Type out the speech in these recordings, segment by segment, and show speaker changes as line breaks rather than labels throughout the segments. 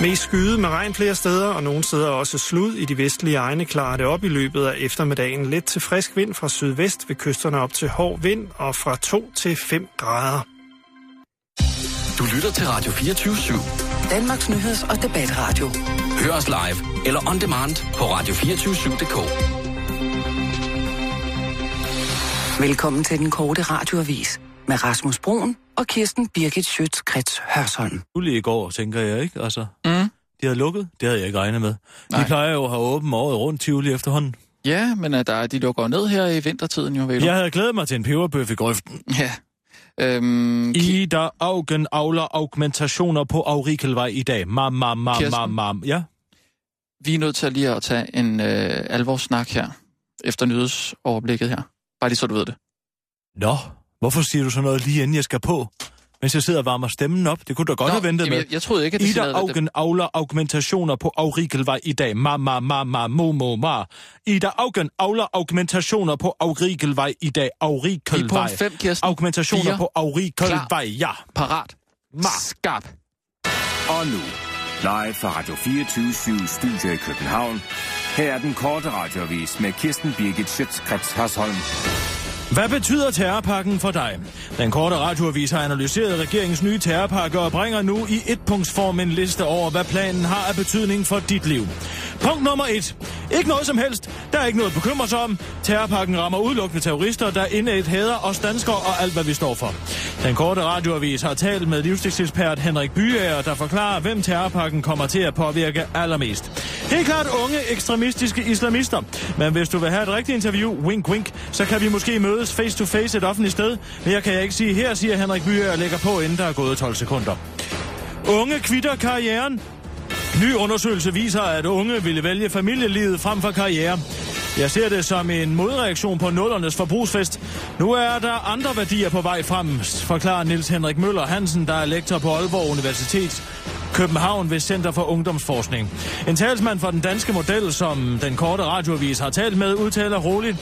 Mest skyde med regn flere steder, og nogle steder også slud i de vestlige egne klarer det op i løbet af eftermiddagen. Lidt til frisk vind fra sydvest ved kysterne op til hård vind og fra 2 til 5 grader.
Du lytter til Radio 24-7.
Danmarks Nyheds- og Debatradio.
Hør os live eller on demand på radio247.dk.
Velkommen til den korte radioavis med Rasmus Broen og Kirsten Birgit Schøtz-Krets Hørsholm.
juli i går, tænker jeg, ikke? Altså, mm. De havde lukket, det havde jeg ikke regnet med. Nej.
Nej.
De plejer jo at have åbent året rundt Tivoli efterhånden.
Ja, men at der, er- de lukker jo ned her i vintertiden jo, vel?
Jeg havde glædet mig til en peberbøf i grøften.
ja. Øhm,
I der augen avler augmentationer på Aurikelvej i dag. Mam, mam, mam,
Kirsten?
mam, mam. Ja,
vi er nødt til lige at tage en øh, alvorssnak her, efter nyhedsoverblikket her. Bare lige så du ved det.
Nå, hvorfor siger du så noget lige inden jeg skal på? Mens jeg sidder og varmer stemmen op. Det kunne du da godt
Nå,
have ventet
jamen,
med.
Jeg, jeg troede ikke, at det
Ida
sådan noget-
Augen avler augmentationer på Aurikelvej i dag. Ma, ma, ma, ma, mo, mo, ma. Ida Augen avler augmentationer på Aurikelvej i dag.
Vi er på
Aurikelvej.
en fem, Kirsten.
Augmentationer
Fire.
på Aurikelvej, ja.
Parat.
Ma.
Skarp.
Og nu, live fra Radio 24 Studio i København. Her er den korte radiovis med Kirsten Birgit Schøtzgrads Hasholm.
Hvad betyder terrorpakken for dig? Den korte radioavis har analyseret regeringens nye terrorpakke og bringer nu i et punktsform en liste over, hvad planen har af betydning for dit liv. Punkt nummer et. Ikke noget som helst. Der er ikke noget at bekymre sig om. Terrorpakken rammer udelukkende terrorister, der indad hader os danskere og alt, hvad vi står for. Den korte radioavis har talt med livsstilsekspert Henrik Byager, der forklarer, hvem terrorpakken kommer til at påvirke allermest. Helt klart unge ekstremistiske islamister. Men hvis du vil have et rigtigt interview, wink wink, så kan vi måske mødes face to face et offentligt sted. Men jeg kan jeg ikke sige her, siger Henrik Byager og lægger på, inden der er gået 12 sekunder. Unge kvitter karrieren. Ny undersøgelse viser, at unge ville vælge familielivet frem for karriere. Jeg ser det som en modreaktion på nullernes forbrugsfest. Nu er der andre værdier på vej frem, forklarer Niels Henrik Møller Hansen, der er lektor på Aalborg Universitet. København ved Center for Ungdomsforskning. En talsmand for den danske model, som den korte radioavis har talt med, udtaler roligt.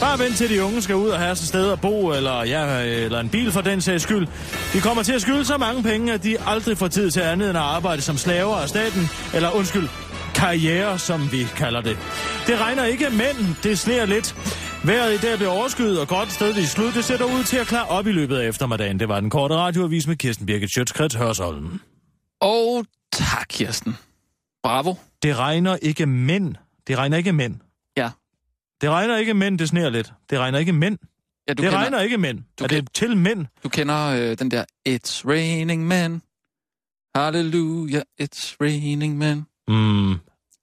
Bare vent til de unge skal ud og have et sted at bo, eller, ja, eller en bil for den sags skyld. De kommer til at skylde så mange penge, at de aldrig får tid til andet end at arbejde som slaver af staten, eller undskyld, karriere, som vi kalder det. Det regner ikke, men det sneer lidt. Vejret i dag bliver overskyet og godt stedvis slud. Det ser dog ud til at klare op i løbet af eftermiddagen. Det var den korte radioavis med Kirsten Birgit Sjøtskrets Hørsholm.
Og tak, Kirsten. Bravo.
Det regner ikke mænd. Det regner ikke mænd.
Ja.
Det regner ikke mænd, det sneer lidt. Det regner ikke mænd.
Ja, du
det
kender,
regner ikke mænd.
du
er det til mænd?
Du kender øh, den der It's raining men. Halleluja, it's raining men.
Mm.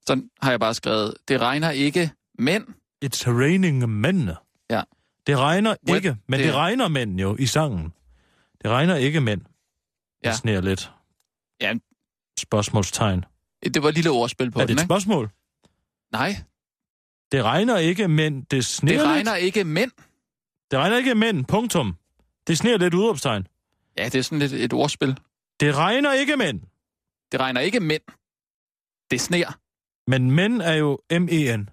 Sådan har jeg bare skrevet. Det regner ikke mænd.
It's raining men.
Ja.
Det regner
What?
ikke, men det,
Det-
det regner mænd jo i sangen. Det regner ikke mænd.
Ja.
Det sneer lidt.
Ja.
Spørgsmålstegn.
Det var et lille ordspil på
er
den,
det et
ikke?
spørgsmål?
Nej,
Det regner ikke mænd, det sneer
det
lidt.
regner ikke mænd.
Det regner ikke mænd, punktum. Det sneer lidt udopstegn.
Ja, det er sådan lidt et ordspil.
Det regner ikke mænd.
Det regner ikke mænd. Det sner.
Men mænd er jo E M-E-N.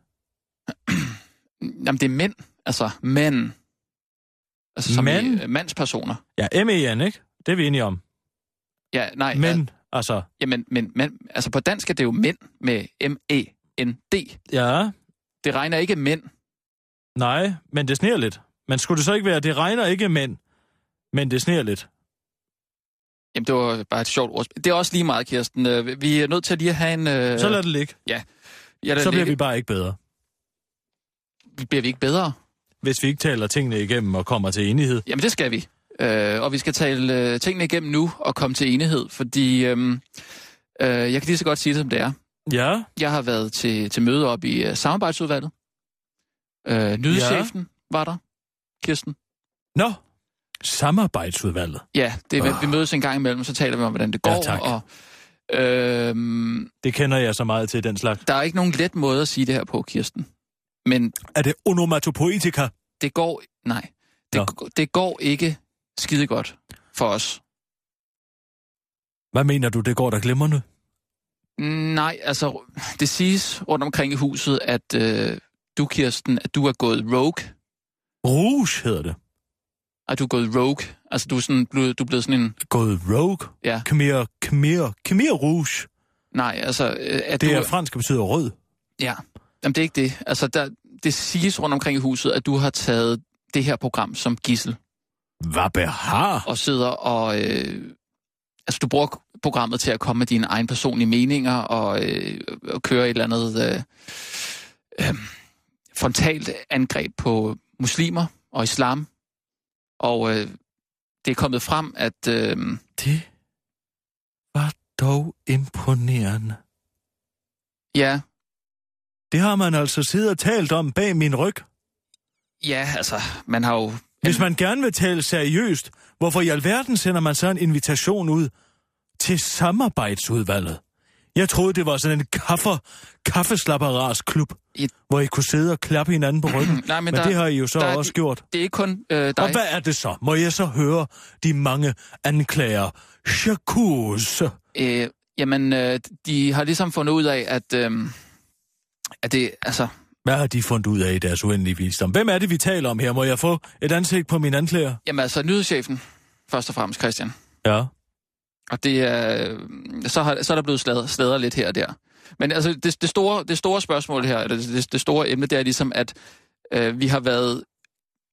Jamen, det er mænd. Altså, mænd. Altså, som
Mænd?
I, øh, mandspersoner.
Ja, M-E-N, ikke? Det er vi enige om.
Ja, nej.
Men,
Ja,
altså,
jamen, men, men, altså, på dansk er det jo mænd med M-E-N-D.
ja,
Det regner ikke mænd.
nej, men det sneer lidt. Men skulle det så ikke være, det regner ikke mænd, men det sneer lidt?
Jamen, det var bare et sjovt ordspil. Det er også lige meget, Kirsten. Øh, Vi er nødt til lige at have en... Øh,
Så lad det ligge.
ja,
Så bliver vi bare ikke bedre.
vi... bliver vi ikke bedre.
Hvis vi ikke taler tingene igennem og kommer til enighed.
Jamen, det skal vi. Øh, og vi skal tale øh, tingene igennem nu og komme til enighed, fordi øhm, øh, jeg kan lige så godt sige det, som det er.
Ja,
Jeg har været til, til møde op i øh, samarbejdsudvalget. Øh, nyhedschefen ja. var der, Kirsten.
nå. Samarbejdsudvalget.
Ja, det, er, vi mødes en gang imellem, så taler vi om, hvordan det
Ja,
går.
tak.
og, øhm,
Det kender jeg så meget til, den slags.
der er ikke nogen let måde at sige det her på, Kirsten. Men
Er det onomatopoetika?
det går... Nej.
Nå.
Det, g- det går ikke skide godt for os.
Hvad mener du, det går der glimrende?
Nej, altså, det siges rundt omkring i huset, at øh, du, Kirsten, at du er gået rogue.
Rouge hedder det.
At du er gået rogue. Altså, du er, sådan blevet, du er blevet sådan en...
Gået rogue?
Ja.
Khmer, Khmer, Khmer Rouge.
Nej, altså... øh, At
Det
du,
er fransk, der betyder rød.
Ja, Jamen, det er ikke det. Altså, der, det siges rundt omkring i huset, at du har taget det her program som gissel,
Hvad behar?
og sidder og... Øh, altså, du bruger programmet til at komme med dine egne personlige meninger, og, øh, og køre et eller andet øh, øh, frontalt angreb på muslimer og islam. Og øh, det er kommet frem, at... Øh,
Det var dog imponerende.
ja,
Det har man altså siddet og talt om bag min ryg.
ja, altså, man har jo...
Hvis man gerne vil tale seriøst, hvorfor i alverden sender man så en invitation ud til samarbejdsudvalget? Jeg troede, det var sådan en kaffe, kaffeslapperasklub,
I-
hvor I kunne sidde og klappe hinanden på ryggen.
Nej, men
men
der-
det har I jo så
der er
også
de-
gjort.
Det er ikke kun øh, dig.
Og hvad er det så? Må jeg så høre de mange anklager? Shakus.
Øh, jamen, øh, de har ligesom fundet ud af, at, øh, at det, altså,
Hvad har de fundet ud af i deres uendelige visdom? Hvem er det, vi taler om her? Må jeg få et ansigt på min anklager?
jamen, altså nyhedschefen, først og fremmest Christian.
Ja.
Og det er, øh, så, har, så er der blevet sladret, sladret lidt her og der. Men altså, det, det, store, det store spørgsmål her, eller det, det store emne, det er ligesom, at øh, vi har været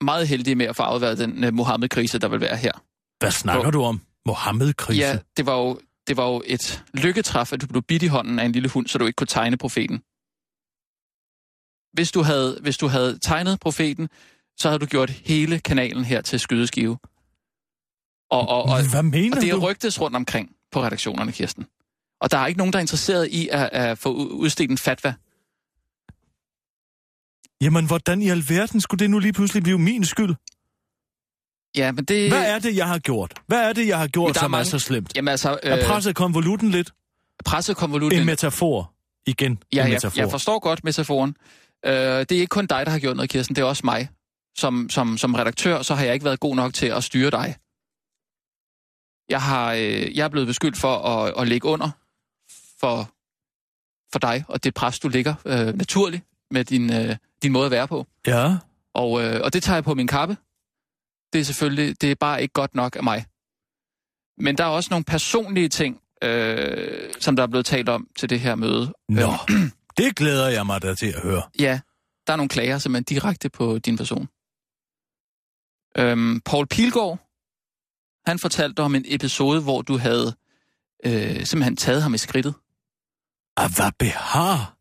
meget heldige med at få afværet den øh, Mohammed-krise, der vil være her.
Hvad snakker
Hvor-
du om? Mohammed-krise?
Ja, det var jo, det var jo et lykketræf, at du blev bidt i hånden af en lille hund, så du ikke kunne tegne profeten. Hvis du havde, hvis du havde tegnet profeten, så havde du gjort hele kanalen her til skydeskive. Og, og, og,
Hvad mener
og det er
du?
rygtes rundt omkring på redaktionerne, Kirsten. Og der er ikke nogen, der er interesseret i at, at få u- udstedt en fatwa.
Jamen, hvordan i alverden skulle det nu lige pludselig blive min skyld?
Øh. Ja, men det...
Hvad er det, jeg har gjort? Hvad er det, jeg har
Men
gjort,
der er
som er
mange-
så slemt?
Jamen altså, øh,
Er presset konvolutten lidt? En
pressekonvolutten...
metafor. Igen,
Ja,
en
jeg,
metafor.
jeg forstår godt metaforen. Øh, det er ikke kun dig, der har gjort noget, Kirsten. Det er også mig. Som, som, som redaktør, så har jeg ikke været god nok til at styre dig. Jeg, har, øh, jeg er blevet beskyldt for at, at ligge under for, for dig, og det pres, du ligger øh, naturligt med din, øh, din måde at være på.
Ja,
Og, øh, og det tager jeg på min kappe. Det er selvfølgelig, det er bare ikke godt nok af mig. Men der er også nogle personlige ting, øh, som der er blevet talt om til det her møde.
nå. Det glæder jeg mig da til at høre.
Ja, der er nogle klager simpelthen direkte på din person. Øhm, Paul Pilgaard, han fortalte om en episode, hvor du havde øh, simpelthen taget ham i skridtet.
Ah, hvad behar?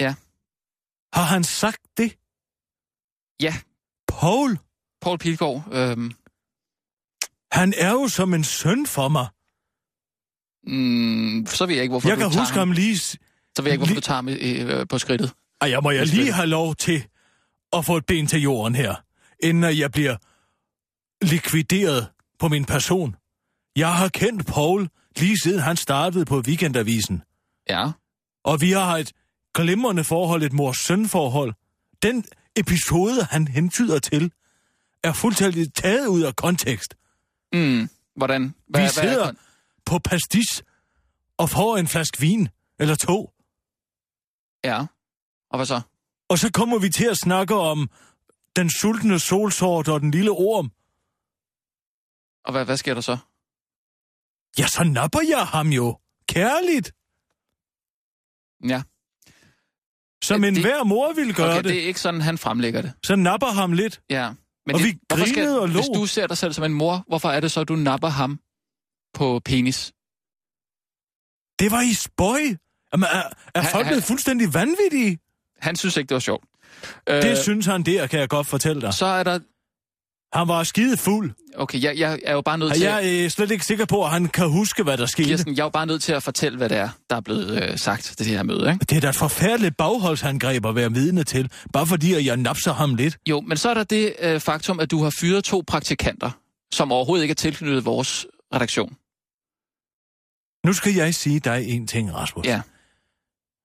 Ja.
Har han sagt det?
Ja.
Paul,
Paul Pilgaard, øhm,
han er jo som en søn for mig.
mm, så ved jeg ikke, hvorfor
jeg
du
kan
tager
huske
ham.
ham lige... s-
Så ved jeg ikke, hvorfor
lige-
du tager ham øh, øh, på skridtet.
Ej, jeg må jeg lige have lov til at få et ben til jorden her, inden at jeg bliver likvideret på min person. Jeg har kendt Paul lige siden han startede på Weekendavisen,
Ja,
og vi har et glimrende forhold, et mor-søn-forhold. Den episode, han hentyder til, er fuldstændig taget ud af kontekst.
mm, hvordan?
Hvad, vi
er
sidder
kon-
på pastis og får en flaske vin eller to,
Ja, og hvad så?
og så kommer vi til at snakke om den sultne solsort og den lille orm.
Og hvad, hvad sker der så?
Ja, så napper jeg ham jo. Kærligt.
Ja,
Som
Ja,
en
det-
hver mor ville gøre
okay,
det.
det er ikke sådan, han fremlægger det.
Så napper ham lidt.
Ja.
Og
det-
vi
hvorfor skal-
grinede og lå.
Hvis du ser dig selv som en mor, hvorfor er det så, du napper ham på penis?
Det var i spøj. Jamen, er, er
Han-
folk
han-
blevet fuldstændig vanvittige?
Han synes ikke, det var sjovt. Øh,
Det synes han der, kan jeg godt fortælle dig.
Så er der...
Han var skide fuld.
Okay, jeg, jeg er jo bare nødt
Og
til...
jeg er øh, slet ikke sikker på, at han kan huske, hvad der skete.
Kirsten, jeg er jo bare nødt til at fortælle, hvad det er, der er blevet øh, sagt til det her møde, ikke?
Det er da et forfærdeligt bagholdshangreb at være vidne til, bare fordi at jeg napser ham lidt.
Jo, men så er der det øh, faktum, at du har fyret to praktikanter, som overhovedet ikke er tilknyttet vores redaktion.
Nu skal jeg sige dig en ting, Rasmus.
Ja.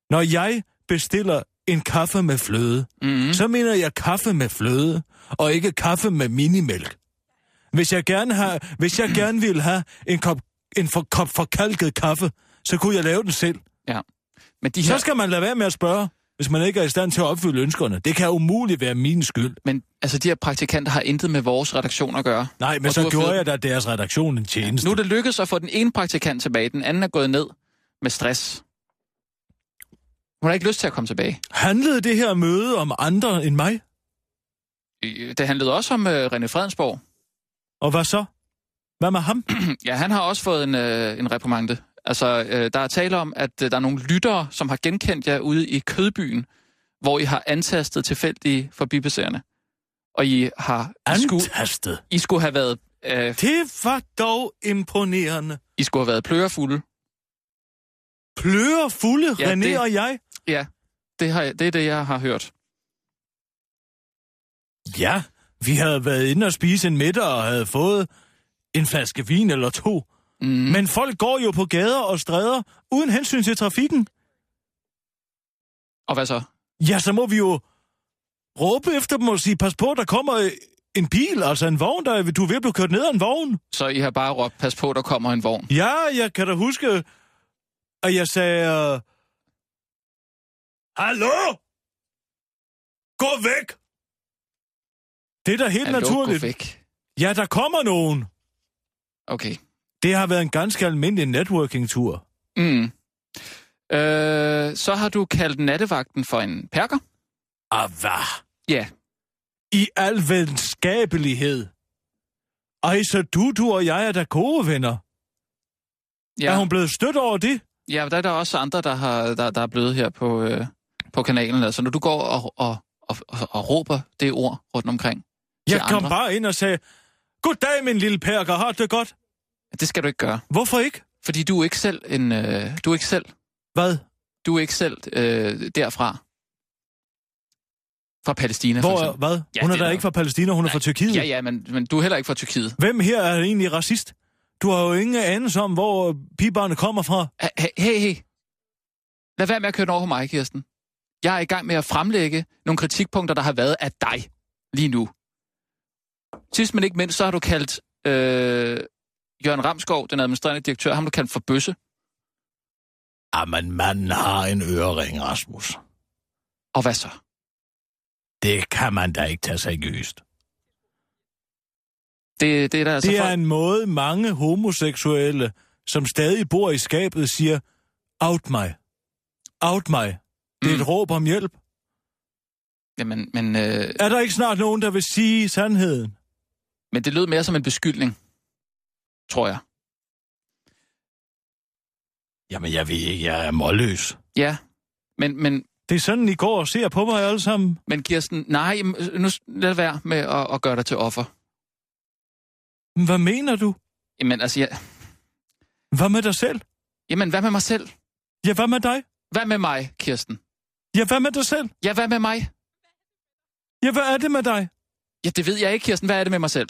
Når jeg bestiller en kaffe med fløde,
Mm-hmm.
så mener jeg kaffe med fløde, og ikke kaffe med minimælk. Hvis jeg gerne, har, hvis jeg gerne ville have en kop, en for, kop forkalket kaffe, så kunne jeg lave den selv.
Men, de
Så
her,
skal man lade være med at spørge, hvis man ikke er i stand til at opfylde ønskerne. Det kan umuligt være min skyld.
men altså, de her praktikanter har intet med vores redaktion at gøre.
Nej, men
Og du
så
har
gjorde
fået-
jeg da deres redaktion en tjeneste.
Nu er det lykkedes at få den ene praktikant tilbage, den anden er gået ned med stress. Hun har ikke lyst til at komme tilbage.
Handlede det her møde om andre end mig?
Øh, Det handlede også om øh, René Fredensborg.
Og hvad så? Hvad med ham?
Ja, han har også fået en, øh, en reprimande. Altså, øh, der er tale om, at øh, der er nogle lyttere, som har genkendt jer ude i Kødbyen, hvor I har antastet tilfældige forbipasserende. Og I har... I skulle,
Antastet.
I skulle have været... Øh,
Det var dog imponerende.
I skulle have været plørefulde.
Plører fulde, ja,
Ja,
René det...
det-
og jeg.
Ja, det, har, jeg- det er det, jeg har hørt.
Ja, vi havde været inde og spise en middag og havde fået en flaske vin eller to.
Mm.
Mm. Men folk går jo på gader og stræder uden hensyn til trafikken.
Og hvad så?
Ja, så må vi jo råbe efter dem og sige, pas på, der kommer øh, en bil, altså en vogn, der er- du er ved at blive kørt ned af en vogn.
Så I har bare råbt, pas på, der kommer en vogn.
Ja, jeg kan da huske, at jeg sagde... øh, Hallo? Gå væk! Det er da helt
Hallo, gå
naturligt.
væk.
Ja, der kommer nogen.
Okay.
Det har været en ganske almindelig networking-tur.
Mm. Øh, så har du kaldt nattevagten for en perker.
Ah, hvad?
Ja,
I al venskabelighed. Ej, så du, du og jeg er da gode venner. Ja. Er
ja.
hun blevet stødt over det?
Ja, men der er der også andre, der, har, der, der er blevet her på, øh, på kanalen. Altså, når du går og, og, og, og, og råber det ord rundt omkring. til
Jeg kom
andre.
bare ind og sagde, Goddag, min lille perker, har du det godt?
Det skal du ikke gøre.
Hvorfor ikke?
Fordi du er ikke selv, en, øh, du er ikke selv,
Hvad?
du er ikke selv øh, derfra. Fra Palæstina, for
Hvor,
eksempel.
hvad?
Ja,
hun er
det er
da
der.
ikke fra Palæstina, hun er fra Tyrkiet.
Ja, ja, men, men du er heller ikke fra Tyrkiet.
Hvem her er egentlig racist? Du har jo ingen anelse om, hvor pibarne kommer fra.
Hey, hey, hey. Lad være med at køre den over på mig, Kirsten. Jeg er i gang med at fremlægge nogle kritikpunkter, der har været af dig lige nu. Sidst men ikke mindst, så har du kaldt øh, Jørgen Ramskov, den administrerende direktør, ham du kaldt for bøsse.
Jamen, Ah, manden har en ørering, Rasmus.
Og hvad så?
Det kan man da ikke tage seriøst.
Det, det er der altså
Det
folk...
er en måde, mange homoseksuelle, som stadig bor i skabet, siger, out mig. Out mig. Det er
Mm.
et råb om hjælp.
Jamen, men, øh,
Er der ikke snart nogen, der vil sige sandheden?
men det lød mere som en beskyldning, tror jeg.
Jamen, jeg ved ikke, jeg er målløs.
Ja, men, men,
Det er sådan, I går og ser på mig alle sammen.
men Kirsten, nej, jamen, nu lad være med at, at gøre dig til offer.
Men Hvad mener du?
Jamen, altså, ja,
Hvad med dig selv?
jamen, hvad med mig selv?
Ja, hvad med dig?
Hvad med mig, Kirsten?
Ja, hvad med dig selv?
Ja, hvad med mig?
Ja, hvad er det med dig?
Ja, det ved jeg ikke, Kirsten. Hvad er det med mig selv?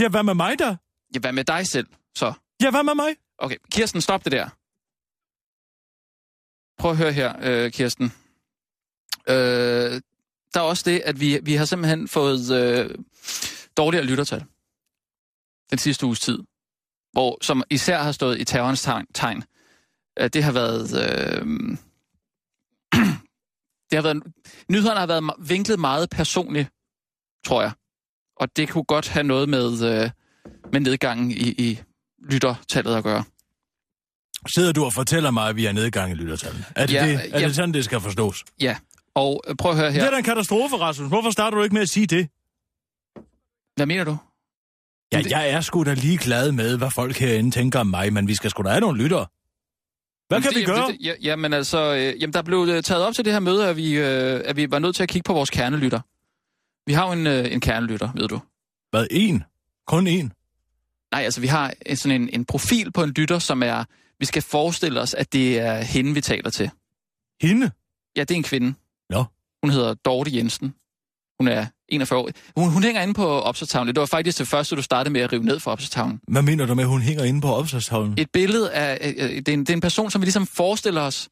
Ja, hvad med mig da?
Ja, hvad med dig selv, så?
Ja, hvad med mig?
Okay, Kirsten, stop det der. Prøv at høre her, øh, Kirsten. Øh, der er også det, at vi, vi har simpelthen fået øh, dårligere lyttertal den sidste uges tid, hvor, som især har stået i terrorens tegn. tegn. Øh, det har været... Øh, det har været, nyhederne har været ma- vinklet meget personligt, tror jeg. Og det kunne godt have noget med, øh, med nedgangen i, i lyttertallet at gøre.
Sidder du og fortæller mig, at vi er nedgang i lyttertallene? Er det,
Ja,
det, er
ja.
det sådan, det skal forstås?
Ja, og øh, prøv at høre
Ja. Det er
her.
da en katastrofe, Rasmus. Hvorfor starter du ikke med at sige det?
Hvad mener du?
Ja,
Det-
jeg er sgu da lige glad med, hvad folk herinde tænker om mig, men vi skal sgu da have nogle lyttere. Hvad kan
det,
vi gøre?
Det, ja, jamen altså, øh, jamen, der blev øh, taget op til det her møde, at vi, øh, at vi var nødt til at kigge på vores kernelytter. Vi har jo en, øh, en kernelytter, ved du.
Hvad, en? Kun en?
Nej, altså vi har en- sådan en, en profil på en lytter, som er, vi skal forestille os, at det er hende, vi taler til.
Hende?
Ja, det er en kvinde.
Nå.
Hun hedder Dorte Jensen. Hun er 41 år. Hun, hun hænger inde på Opsatavlen. Det var faktisk det første, du startede med at rive ned fra Opsatavlen.
Hvad mener du med, at hun hænger inde på opslagstavlen?
Et billede af... Øh, øh, det, er en, det er en person, som vi ligesom forestiller os.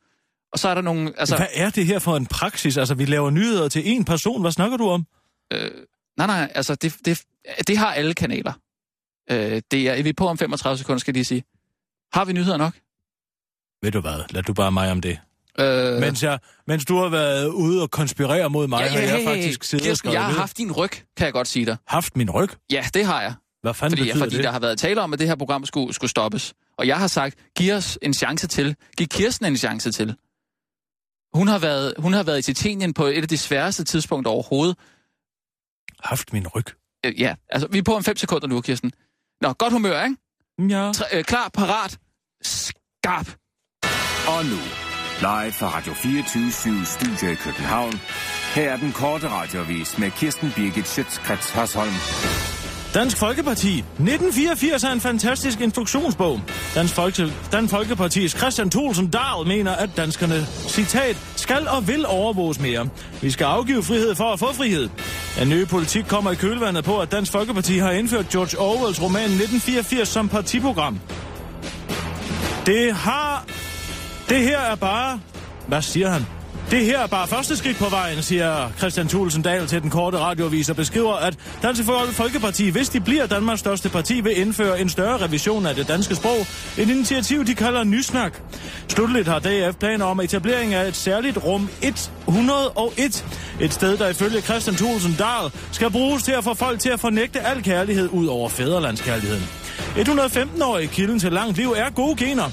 Og så er der nogle... Altså,
Hvad er det her for en praksis? Altså, vi laver nyheder til én person. Hvad snakker du om?
Øh, nej, nej, altså det, det, det har alle kanaler. Øh, det er, vi er på om 35 sekunder, skal jeg lige sige. Har vi nyheder nok?
Ved du hvad? Lad du bare mig om det.
Øh,
Øh. Mens, jeg, mens du har været ude og konspirere mod mig, ja, ja, har jeg faktisk siddet og
Kirsten,
skrevet
jeg har
ned.
haft din ryg, kan jeg godt sige dig.
haft min ryg.
Ja, det har jeg.
Hvad fanden
Fordi,
betyder
fordi
det?
der har været tale om, at det her program skulle, skulle stoppes. Og jeg har sagt, giv os en chance til. Giv Kirsten en chance til. Hun har været, hun har været i Titanien på et af de sværeste tidspunkter overhovedet.
Haft min ryg.
Øh, ja, altså, vi er på om 5 sekunder nu, Kirsten. Nå, godt humør, ikke?
Ja.
Tre, øh, klar, parat, skarp.
Og nu, live fra Radio 24 Studio i København. Her er den korte radiovis med Kirsten Birgit Schøtzgrads Hasholm.
Dansk Folkeparti. 1984 er en fantastisk instruktionsbog. Dansk, Folke, Dansk Folkepartis Christian Thulsen Dahl mener, at danskerne, citat, skal og vil overvåges mere. Vi skal afgive frihed for at få frihed. Den nye politik kommer i kølvandet på, at Dansk Folkeparti har indført George Orwells roman 1984 som partiprogram. Det har... Det her er bare... Hvad siger han? Det her er bare første skridt på vejen, siger Christian Thulesen Dahl til den korte radioavis og beskriver, at Dansk Folk- Folkeparti, hvis de bliver Danmarks største parti, vil indføre en større revision af det danske sprog. Et initiativ, de kalder Nysnak. Slutteligt har DF planer om etablering af et særligt rum 101. Et sted, der ifølge Christian Thulesen Dahl skal bruges til at få folk til at fornægte al kærlighed ud over fædrelandskærligheden. 115-årige kilden til langt liv er gode gener.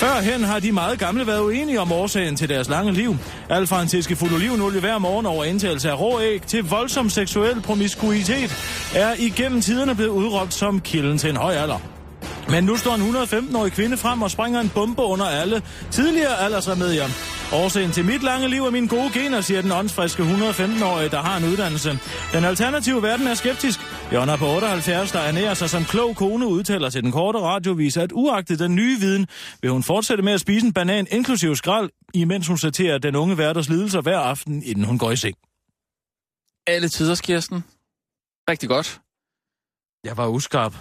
Førhen har de meget gamle været uenige om årsagen til deres lange liv. Alfrantiske futolivenolie hver morgen over indtagelse af rå æg til voldsom seksuel promiskuitet er igennem tiderne blevet udråbt som kilden til en høj alder. Men nu står en 115-årig kvinde frem og springer en bombe under alle tidligere aldersremedier. Årsagen til mit lange liv er mine gode gener, siger den åndsfriske 115-årige, der har en uddannelse. Den alternative verden er skeptisk. Jonna på 78, der ernærer sig som klog kone, udtaler til den korte radiovis, at uagtet den nye viden, vil hun fortsætte med at spise en banan inklusiv skrald, imens hun sorterer den unge værters lidelser hver aften, inden hun går i seng.
Alle tiders, Kirsten. Rigtig godt.
Jeg var uskarp.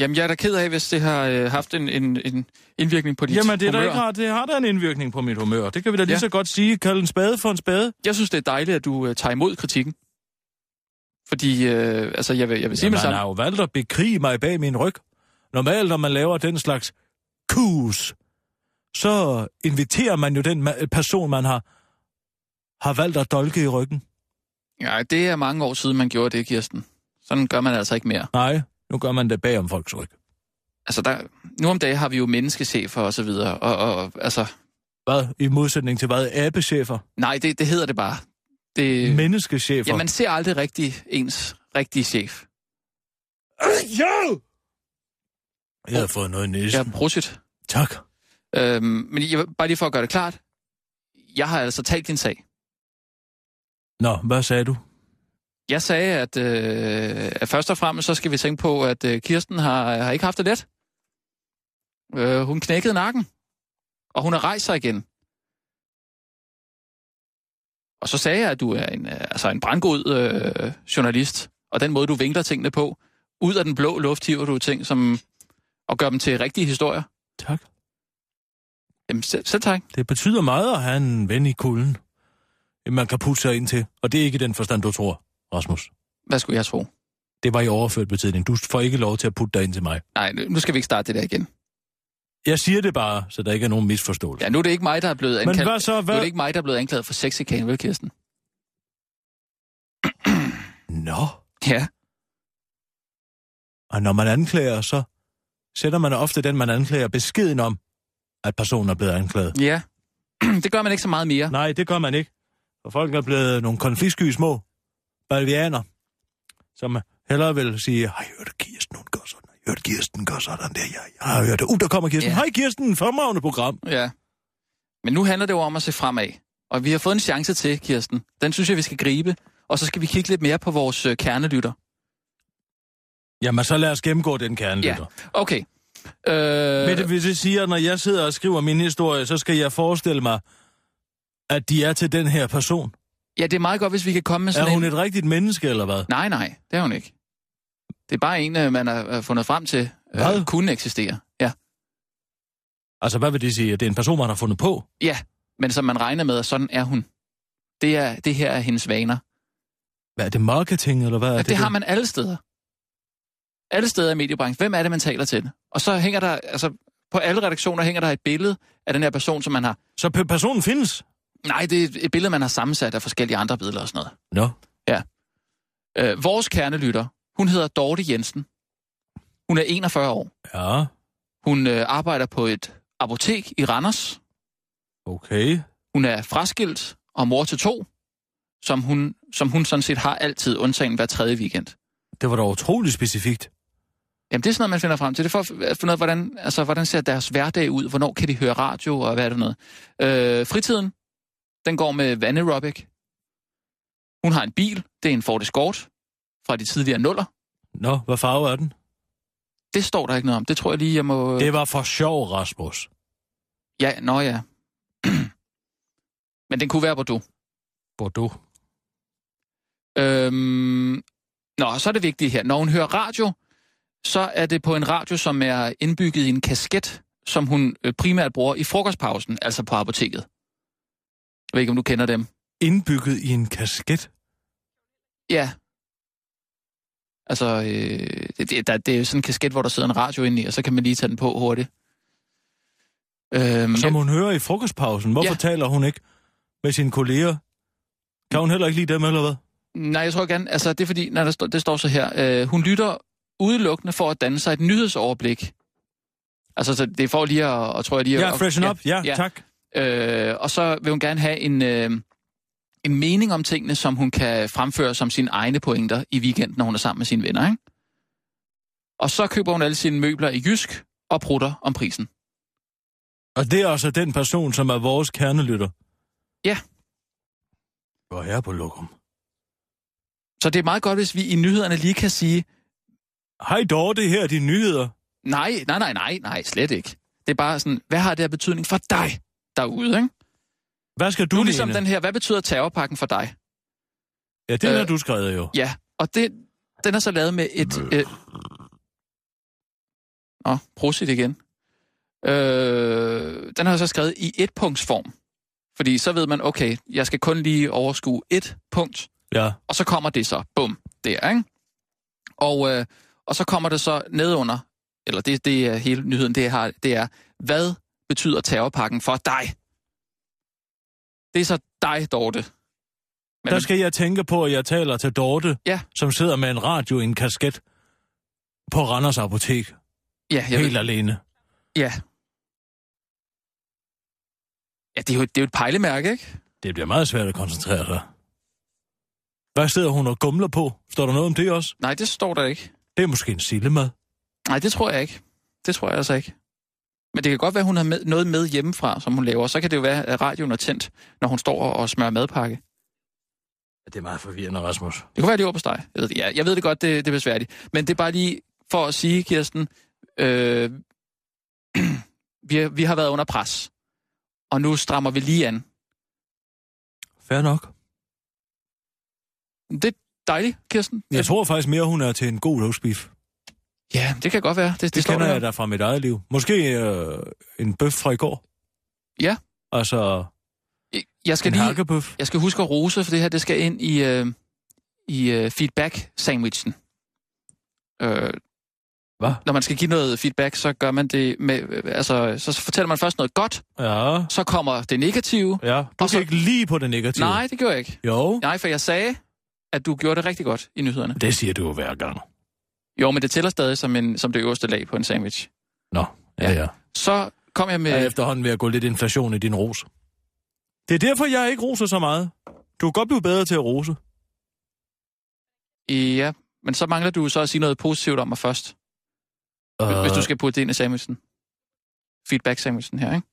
Jamen, jeg er da ked af, hvis det har øh, haft en, en, en indvirkning på dit
Jamen, det er da
humør.
ikke rart. Det har da en indvirkning på mit humør. Det kan vi da lige
Ja.
så godt sige. Kald en spade for en spade.
Jeg synes, det er dejligt, at du øh, tager imod kritikken. Fordi, øh, altså, jeg vil, jeg vil sige
Jamen,
med
han har
sammen.
jo valgt at bekrige mig bag min ryg. Normalt, når man laver den slags kus, så inviterer man jo den ma- person, man har, har valgt at dolke i ryggen.
Ja, det er mange år siden, man gjorde det, Kirsten. Sådan gør man altså ikke mere.
Nej, nu gør man det bag om folks ryg.
Altså, der, nu om dagen har vi jo menneskechefer og så videre, og, og altså...
Hvad? I modsætning til hvad? Abechefer?
Nej, det, det hedder det bare. Det,
Øh. Menneskechefer?
ja, man ser aldrig rigtig ens rigtige chef.
Jo! Jeg har fået noget i
Ja,
næsen. Ja.
prosit.
Tak.
Øhm, men jeg, bare lige for at gøre det klart, jeg har altså talt din sag.
Nå, hvad sagde du?
Jeg sagde, at, øh, at først og fremmest, så skal vi tænke på, at øh, Kirsten har, har ikke haft det let. Øh, hun knækkede nakken, og hun har rejst sig igen. Og så sagde jeg, at du er en, øh, altså en brandgod øh, journalist, og den måde, du vinkler tingene på, ud af den blå luft hiver du ting, som, og gør dem til rigtige historier.
Tak.
Jamen selv, selv tak.
Det betyder meget at have en ven i kulden. En, Man kan putte sig ind til. Og det er ikke i den forstand, du tror, Rasmus.
Hvad skulle jeg tro?
Det var i overført betydning. Du får ikke lov til at putte dig ind til mig.
Nej, nu nu skal vi ikke starte det der igen.
Jeg siger det bare, så der ikke er nogen misforståelse.
Ja, nu er det ikke mig, der er blevet
Men
anklaget.
hvad så?
Nu er det
Hvad?
ikke mig, der er blevet anklaget for sexikane, vel, Kirsten?
Nå.
Ja.
Og når man anklager, så sætter man ofte den, man anklager, beskeden om, at personen er blevet anklaget.
Ja. det gør man ikke så meget mere.
Nej, det gør man ikke. For folk er blevet nogle konfliktsky små balvianer, som hellere vil sige, har I hørt, at Kirsten, hun gør sådan? Har I hørt, at Kirsten gør sådan der? Jeg, jeg har hørt det. Uh, der kommer Kirsten.
Ja.
Ja. Hej Kirsten, fremragende program.
Ja. Men nu handler det jo om at se fremad. Og vi har fået en chance til, Kirsten. Den synes jeg, vi skal gribe. Og så skal vi kigge lidt mere på vores øh, kernelytter.
Jamen, så lad os gennemgå den kernelytter.
Okay.
Ja.
Øh,
Men det vil det sige, at når jeg sidder og skriver min historie, så skal jeg forestille mig, at de er til den her person.
ja, det er meget godt, hvis vi kan komme med sådan
Er hun
en...
et rigtigt menneske, eller hvad?
Nej, nej, det er hun ikke. Det er bare en, øh, man har øh, fundet frem til,
Hvad?
kunne eksistere. Ja.
Altså, hvad vil det sige? At det er en person, man har fundet på?
ja, men som man regner med, at sådan er hun. Det, er, det her er hendes vaner.
Hvad er det, marketing, eller hvad er
Ja,
det?
det, det har man alle steder. Alle steder i mediebranchen. Hvem er det, man taler til? Og så hænger der, altså på alle redaktioner hænger der et billede af den her person, som man har...
Så pe- personen findes?
Nej, det er et- et billede, man har sammensat af forskellige andre billeder og sådan
Nå.
noget. Øh, vores kernelytter, hun hedder Dorte Jensen. Hun er 41 år.
Ja,
Hun øh, arbejder på et apotek i Randers.
okay.
Hun er fraskilt og mor til to, som hun, som hun sådan set har altid, undtagen hver tredje weekend.
Det var da utroligt specifikt.
Jamen, det er sådan noget, man finder frem til. Det er for at finde ud af, hvordan, altså, hvordan ser deres hverdag ud? Hvornår kan de høre radio, og hvad er det for noget? Øh, fritiden, den går med vanaerobic. Hun har en bil, det er en Ford Escort fra de tidligere nuller.
Nå, hvad farve er den?
Det står der ikke noget om. Det tror jeg lige, jeg må...
Det var for sjov, Rasmus.
Ja, nå ja. Men den kunne være Bordeaux.
Bordeaux.
Øhm, nå, så er det vigtigt her. Når hun hører radio, så er det på en radio, som er indbygget i en kasket, som hun øh, primært bruger i frokostpausen, altså på apoteket. Jeg ved ikke, om du kender dem.
Indbygget i en kasket.
Ja. Altså, øh, det, det, der, det er jo sådan en kasket, hvor der sidder en radio inde i, og så kan man lige tage den på hurtigt. Øhm,
Som hun hører i frokostpausen. Hvorfor
Ja.
taler hun ikke med sine kolleger? Kan hun heller ikke lide dem, eller hvad?
Nej, jeg tror gerne, altså det er fordi, nej, der står, det står så her, øh, hun lytter udelukkende for at danne sig et nyhedsoverblik. Altså, så det er for lige at, og tror jeg lige at...
Ja, freshen up. Ja,
ja.
tak.
Øh, og så vil hun gerne have en, øh, en mening om tingene, som hun kan fremføre som sine egne pointer i weekenden, når hun er sammen med sine venner. Ikke? Og så køber hun alle sine møbler i Jysk og prutter om prisen.
Og det er altså den person, som er vores kernelytter.
Ja.
Hvor her på lokum.
Så det er meget godt, hvis vi i nyhederne lige kan sige,
Hej Dorte, her er de nyheder.
nej, nej, nej, nej, nej, slet ikke. Det er bare sådan, hvad har det her betydning for dig derude? Ikke?
Hvad skal du
Du nu
mene?
ligesom den her, hvad betyder terrorpakken for dig?
Ja, det har
Øh,
du skrevet jo.
Ja, og det, den er så lavet med et... Øh... Nå, prosit igen. Øh, den har jeg så skrevet i et punktsform. Fordi så ved man, okay, jeg skal kun lige overskue et punkt,
Ja.
og så kommer det så, bum, der, ikke? Og, øh, og så kommer det så nedunder, eller det, det er hele nyheden, det, har, det er, hvad betyder terrorpakken for dig? Det er så dig, Dorte. Men
Der skal jeg tænke på, at jeg taler til Dorte,
Ja.
som sidder med en radio i en kasket på Randers Apotek,
ja, jeg
helt
ved-
alene.
Ja. Ja, det er, jo, det er jo et pejlemærke, ikke?
Det bliver meget svært at koncentrere sig. Hvad sidder hun og gumler på? Står der noget om det også?
Nej, det står der ikke.
Det er måske en sillemad.
Nej, det tror jeg ikke. Det tror jeg altså ikke. Men det kan godt være, hun har med, noget med hjemmefra, som hun laver. Så kan det jo være, at radioen er tændt, når hun står og- og smører madpakke.
Ja, det er meget forvirrende, Rasmus.
Det kunne være, det var på dig. Jeg ved det, ja, jeg ved det godt, det, det er besværligt. Men det er bare lige for at sige, Kirsten, øh, vi, har- vi har været under pres. Og nu strammer vi lige an.
Fair nok.
Det er dejligt, Kirsten.
Jeg tror faktisk mere, hun er til en god roastbeef. Det,
Ja, det kan godt være. Det, det,
det
står
kender
der.
jeg da fra mit eget liv. Måske øh, en bøf fra i går.
Ja.
Altså,
Jeg
skal
skal
en
lige...
hakkebøf.
Jeg skal huske at rose, for det her det skal ind i, øh, i øh, feedback-sandwichen. Øh,
Hvad?
Når man skal give noget feedback, så gør man det med... Øh, altså, så fortæller man først noget godt,
Ja.
så kommer det negative.
Ja, du
Og så-
kan ikke lige på det negative.
Nej, det gjorde jeg ikke.
Jo.
Nej, for jeg sagde, at du gjorde det rigtig godt i nyhederne.
Det siger du jo hver gang.
Jo, men det tæller stadig som, en, som det øverste lag på en sandwich.
Nå, ja, ja.
Så kom jeg
Jeg er
med...
efterhånden ved at gå lidt inflation i din ros. Det er derfor, jeg ikke roser så meget. Du kan godt blive bedre til at rose.
Ja, men så mangler du så at sige noget positivt om mig først, øh. hvis du skal putte det ind i sandwichen. Feedback-sandwichen her, ikke?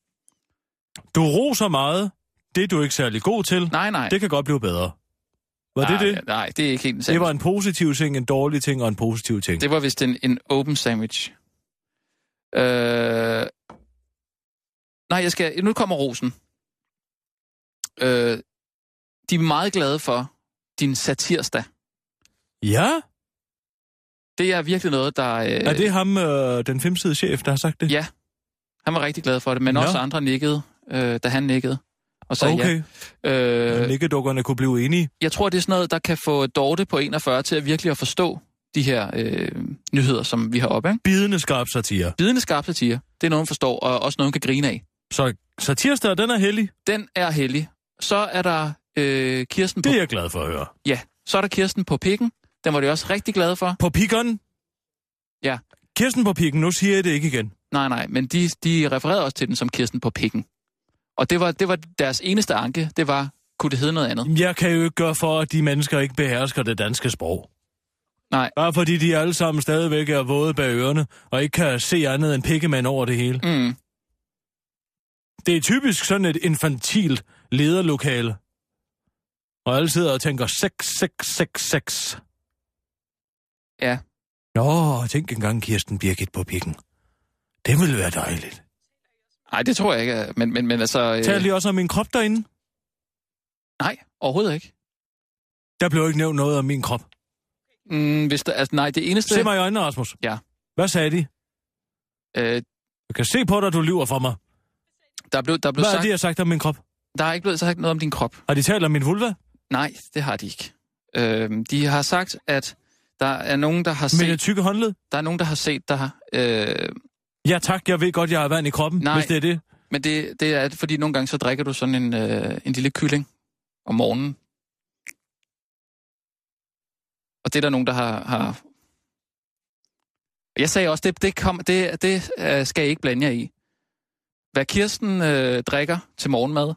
du roser meget. Det er du ikke særlig god til.
Nej, nej.
Det kan godt blive bedre. Var det
nej,
det?
Nej, det er ikke helt en sandwich.
Det var en positiv ting, en dårlig ting og en positiv ting.
Det var vist en, en open sandwich. Øh... Nej, jeg skal... Nu kommer rosen. Øh... De er meget glade for din satirsdag.
Ja?
Det er virkelig noget, der... Øh...
Er det ham, øh, den femside chef, der har sagt det?
Ja, Han var rigtig glad for det, men
Nå.
no. også andre nikkede, øh, da han nikkede. Og så
okay.
ja. Øh,
Nikkedukkerne kunne blive enige.
jeg tror, det er sådan noget, der kan få Dorte på 41 til at virkelig at forstå de her øh, nyheder, som vi har oppe. Ikke?
Bidende skarp satire.
Bidende skarp satire, det er noget, hun forstår, og også noget, hun kan grine af.
Så satirsdag, den er heldig.
Den er heldig. Så er der øh, Kirsten på,
Det er jeg glad for at høre.
ja, så er der Kirsten på pikken. Den var de også rigtig glade for.
På pikkeren?
Ja.
Kirsten på pikken, nu siger jeg det ikke igen.
Nej, nej, men de, de refererede også til den som Kirsten på pikken. Og det var, det var deres eneste anke, det var, kunne det hedde noget andet?
Jeg kan jo ikke gøre for, at de mennesker ikke behersker det danske sprog.
Nej.
Bare fordi de alle sammen stadigvæk er våde bag ørerne, og ikke kan se andet end pikkemand over det hele.
Mm.
Det er typisk sådan et infantilt lederlokale. Og alle sidder og tænker 6666.
Ja.
Nå, tænk engang Kirsten Birgit på pikken. Det ville være dejligt.
Nej, det tror jeg ikke, er- men, men, men altså... Øh,
Tal lige også om min krop derinde.
nej, overhovedet ikke.
Der blev ikke nævnt noget om min krop.
Mm, hvis der, altså, nej, det eneste...
Se mig i øjnene, Rasmus.
Ja.
Hvad sagde de?
Øh,
Jeg kan se på dig, du lyver for mig.
der blev, der blev
Hvad har
sagt,
de har sagt om min krop?
der er ikke blevet sagt noget om din krop.
Har de talt om min vulva?
Nej, det har de ikke. Øh, de har sagt, at der er nogen, der har set,
Mine tykke håndled?
der er nogen, der har set dig. Øh,
Ja tak, jeg ved godt, jeg har vand i kroppen,
Nej.
hvis det er det.
men det, det er, fordi nogle gange så drikker du sådan en, øh, en lille kylling om morgenen. Og det er der nogen, der har... har jeg sagde også, det, det, kom, det, det øh, skal I ikke blande jer i. Hvad Kirsten øh, drikker til morgenmad,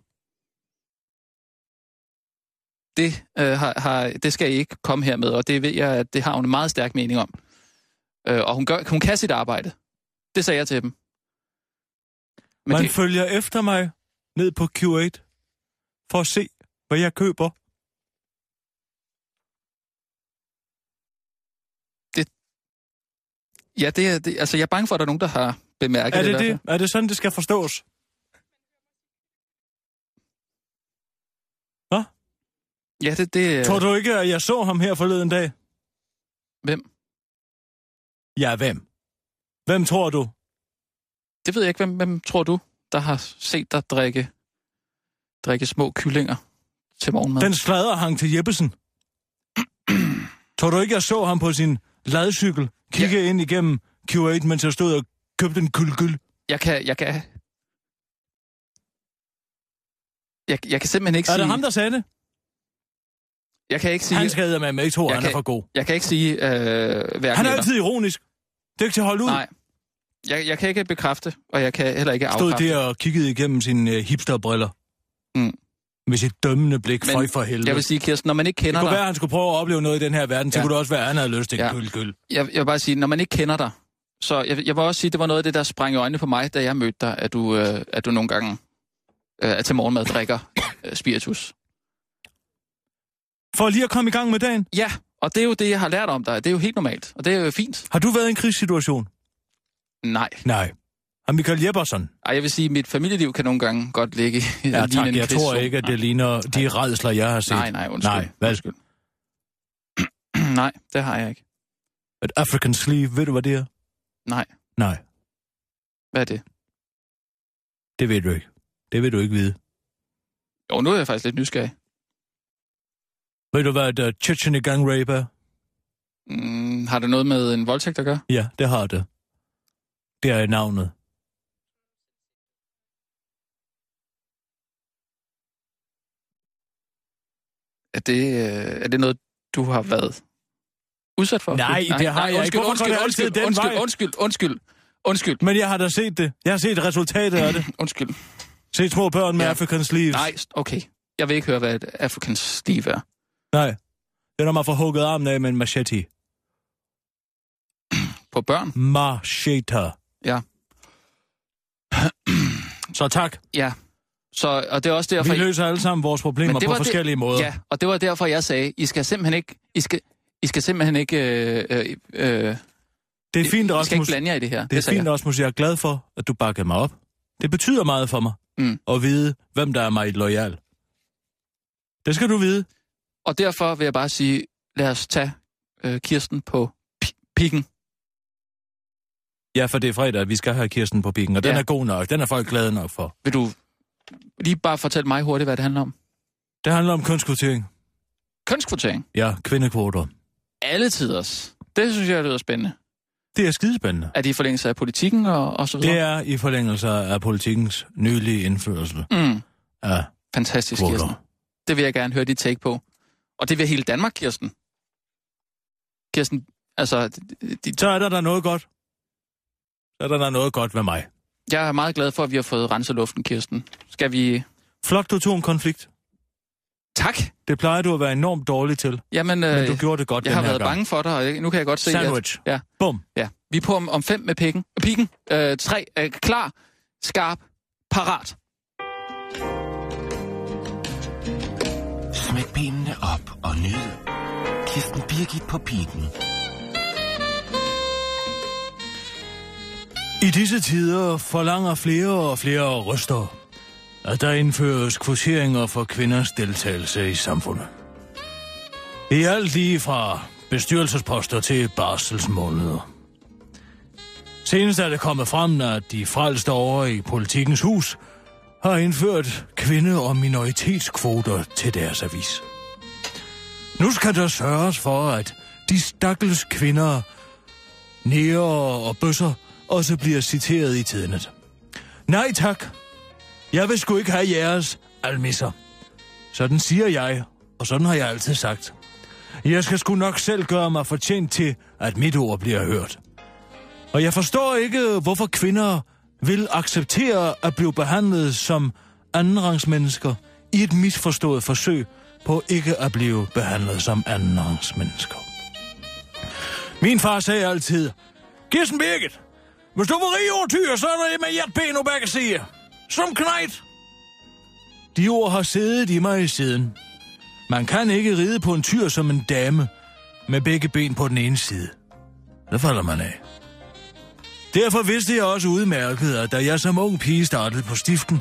det, øh, har, har, det skal I ikke komme her med, og det ved jeg, at det har hun en meget stærk mening om. Øh, og hun, gør, hun kan sit arbejde. Det sagde jeg til dem. Men
Man
det,
følger efter mig ned på Q8 for at se, hvad jeg køber.
ja, det, er- det, altså, jeg er bange for, at der er nogen, der har bemærket
Er
i
det,
hvert fald.
det, er det sådan, det skal forstås?
Ja, det, det
Ja.
er-
Tror du ikke, at jeg så ham her forleden dag?
Hvem?
Ja, hvem? Hvem tror du?
Det ved jeg ikke, hvem, hvem tror du, der har set dig drikke, drikke små kyllinger til morgenmad?
Den slader hang til Jeppesen. tror du ikke, jeg så ham på sin ladcykel kigge ja. ind igennem Q8, mens jeg stod og købte en kuldgyld?
Jeg kan... Jeg kan... Jeg, jeg kan simpelthen ikke
Er
sige...
det ham, der sagde det?
Jeg kan ikke sige...
Han skader med mig ikke tro,
Jeg
han er
kan-
for god.
Jeg kan ikke sige øh,
Han
hverken
er
eller.
altid ironisk. Det er ikke til at holde ud.
Nej. Jeg, jeg kan ikke bekræfte, og jeg kan heller ikke
stod
afkræfte.
der og kiggede igennem sine øh, hipsterbriller.
Mm.
Med sit dømmende blik,
Men
føj for helvede.
Jeg vil sige, Kirsten, når man ikke
det
kender
kunne
dig...
være, at han skulle prøve at opleve noget i den her verden, så
Ja.
kunne det også være, at han havde lyst til en
Ja.
ja. gyld, gyld.
Jeg, jeg vil bare sige, når man ikke kender dig... Så jeg, jeg vil også sige, det var noget af det, der sprang i øjnene på mig, da jeg mødte dig, at du, øh, at du nogle gange øh, til morgenmad drikker øh, spiritus.
For lige at komme i gang med dagen,
Ja, og det er jo det, jeg har lært om dig. Det er jo helt normalt, og det er jo fint.
har du været i en krigssituation?
Nej.
Nej. Har Michael Jeppersen?
Ej, jeg vil sige, at mit familieliv kan nogle gange godt ligge i
Ja,
lignende
tak. Jeg tror
krigszone.
ikke, at
Nej.
det ligner de redsler, jeg har set.
Nej, nej, undskyld.
Nej, hvad?
undskyld. nej, det har jeg ikke.
Et African sleeve, ved du, hvad det er?
Nej.
Nej,
Hvad er det?
det ved du ikke. Det vil du ikke vide.
Jo, nu er jeg faktisk lidt nysgerrig.
Ved du, hvad et øh, Chechen i gang rape er?
Mm, har det noget med en voldtægt at gøre?
Ja, det har det. Det er navnet.
Er det, øh, er det noget, du har været udsat for?
Nej, det har jeg ikke.
undskyld,
Hvorfor går
Undskyld,
det altid
undskyld,
den
undskyld,
vej?
undskyld, undskyld, undskyld,
Men jeg har da set det. Jeg har set resultatet af det.
undskyld.
Se små børn med
Ja.
ja. African sleeves.
Nej, okay. Jeg vil ikke høre, hvad et African Steve er.
Nej. Det er, når man får hugget armen af med en machete.
På børn?
Machete.
Ja.
Så tak.
Ja. Så, og det er også derfor...
Vi løser alle sammen vores problemer
Men det
på
var det-
forskellige måder.
Ja, og det var derfor, jeg sagde, I skal simpelthen ikke... I skal, I skal simpelthen ikke... Øh, øh, øh,
Det er fint,
I skal ikke
Rasmus.
blande jer i det her.
Det er
sagde
fint,
jeg.
Rasmus. Jeg er glad for, at du bakkede mig op. Det betyder meget for mig
Mm.
at vide, hvem der er mig lojal. Det skal du vide.
Og derfor vil jeg bare sige, lad os tage øh, Kirsten på pi- pikken.
Ja, for det er fredag, at vi skal have Kirsten på pikken, og den
Ja.
er god nok. Den er folk glade nok for.
Vil du lige bare fortælle mig hurtigt, hvad det handler om?
Det handler om kønskvotering.
Kønskvotering.
Ja, kvindekvoter.
Alle tiders. Det synes jeg lyder spændende.
Det er skidespændende.
Er det i forlængelse af politikken og, og så
Det
videre?
er i forlængelse af politikens nylige indførelse
er... Mm,
af
fantastisk, Kirsten.
kvoter.
Det vil jeg gerne høre dit take på. Og det vil hele Danmark, Kirsten. Kirsten, altså... d- d- Dit,
Så er der da noget godt. Så er der da noget godt ved mig.
Jeg er meget glad for, at vi har fået renset luften, Kirsten. Skal vi...
Flot, du tog en konflikt.
Tak!
Det plejer du at være enormt dårlig til,
Jamen, øh,
men du gjorde det godt
jeg
den
har
her
været
gang.
bange for dig, og jeg- nu kan jeg godt se...
Sandwich.
At, ja,
Bum.
ja. Vi er på om, om fem med pikken. Pikken. Øh, tre. Øh, klar. Skarp. Parat.
Smæk benene op og nyd. Kirsten Birgit på piken.
I disse tider forlanger flere og flere røster, at der indføres kvoteringer for kvinders deltagelse i samfundet. I alt lige fra bestyrelsesposter til barselsmåneder. Senest er det kommet frem, at de frelste over i politikens hus har indført kvinde- og minoritetskvoter til deres avis. Nu skal der sørges for, at de stakkels kvinder nære og bøsser også bliver citeret i tidnet. Nej tak, jeg vil sgu ikke have jeres almisser. Sådan siger jeg, og sådan har jeg altid sagt. Jeg skal sgu nok selv gøre mig fortjent til, at mit ord bliver hørt. Og jeg forstår ikke, hvorfor kvinder vil acceptere at blive behandlet som andenrangsmennesker i et misforstået forsøg på ikke at blive behandlet som andenrangsmennesker. Min far sagde altid, Kirsten Birgit, hvis du var rig overtyr, så er det med hjert ben og begge siger. Som knejt. De ord har siddet i mig i siden. Man kan ikke ride på en tyr som en dame, med begge ben på den ene side. Det falder man af. Derfor vidste jeg også udmærket, at da jeg som ung pige startede på stiften,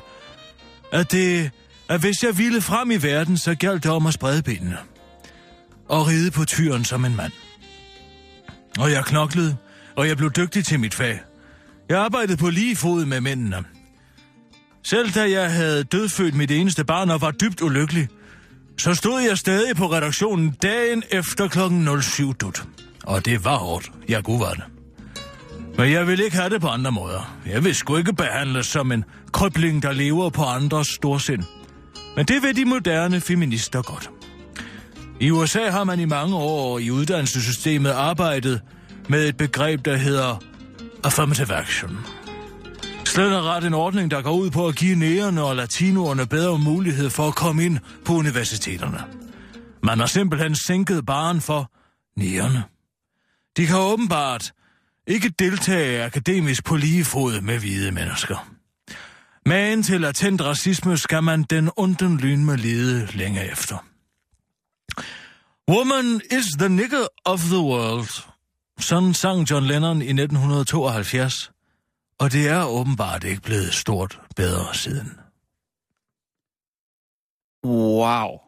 at det, at hvis jeg ville frem i verden, så galt det om at sprede benene. Og ride på tyren som en mand. Og jeg knoklede, og jeg blev dygtig til mit fag. Jeg arbejdede på lige fod med mændene. Selv da jeg havde dødfødt mit eneste barn og var dybt ulykkelig, så stod jeg stadig på redaktionen dagen efter kl. 07 dut. Og det var hårdt. Jeg kunne var det. Men jeg ville ikke have det på andre måder. Jeg vil sgu ikke behandles som en krybling, der lever på andres storsind. Men det vil de moderne feminister godt. I USA har man i mange år i uddannelsessystemet arbejdet med et begreb, der hedder affirmative action. Slet og ret en ordning, der går ud på at give nægerne og latinoerne bedre mulighed for at komme ind på universiteterne. Man har simpelthen sænket baren for nægerne. De kan åbenbart ikke deltage akademisk på lige fod med hvide mennesker. Men til latent racisme skal man den onden lynme lede længe efter. Woman is the nigger of the world. Sådan sang John Lennon i 1972, og det er åbenbart ikke blevet stort bedre siden.
Wow.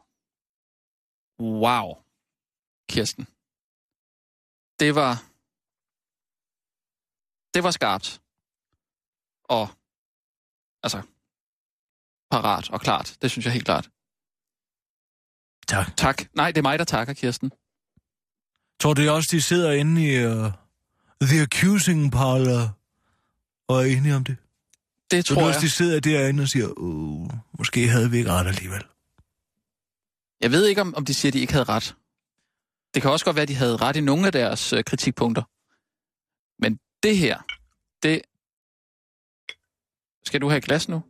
Wow. Kirsten. Det var... Det var skarpt. Og... Altså... Parat og klart. Det synes jeg helt klart.
Tak.
Tak. Nej, det er mig, der takker, Kirsten.
Tror du også, de sidder inde i uh, The Accusing Parlor og er enige om det?
Det
Tror du
tror
også,
jeg.
de sidder derinde og siger, uh, måske havde vi ikke ret alligevel?
Jeg ved ikke, om, om de siger, at de ikke havde ret. Det kan også godt være, at de havde ret i nogle af deres øh, kritikpunkter. Men det her, det... Skal du have et glas nu?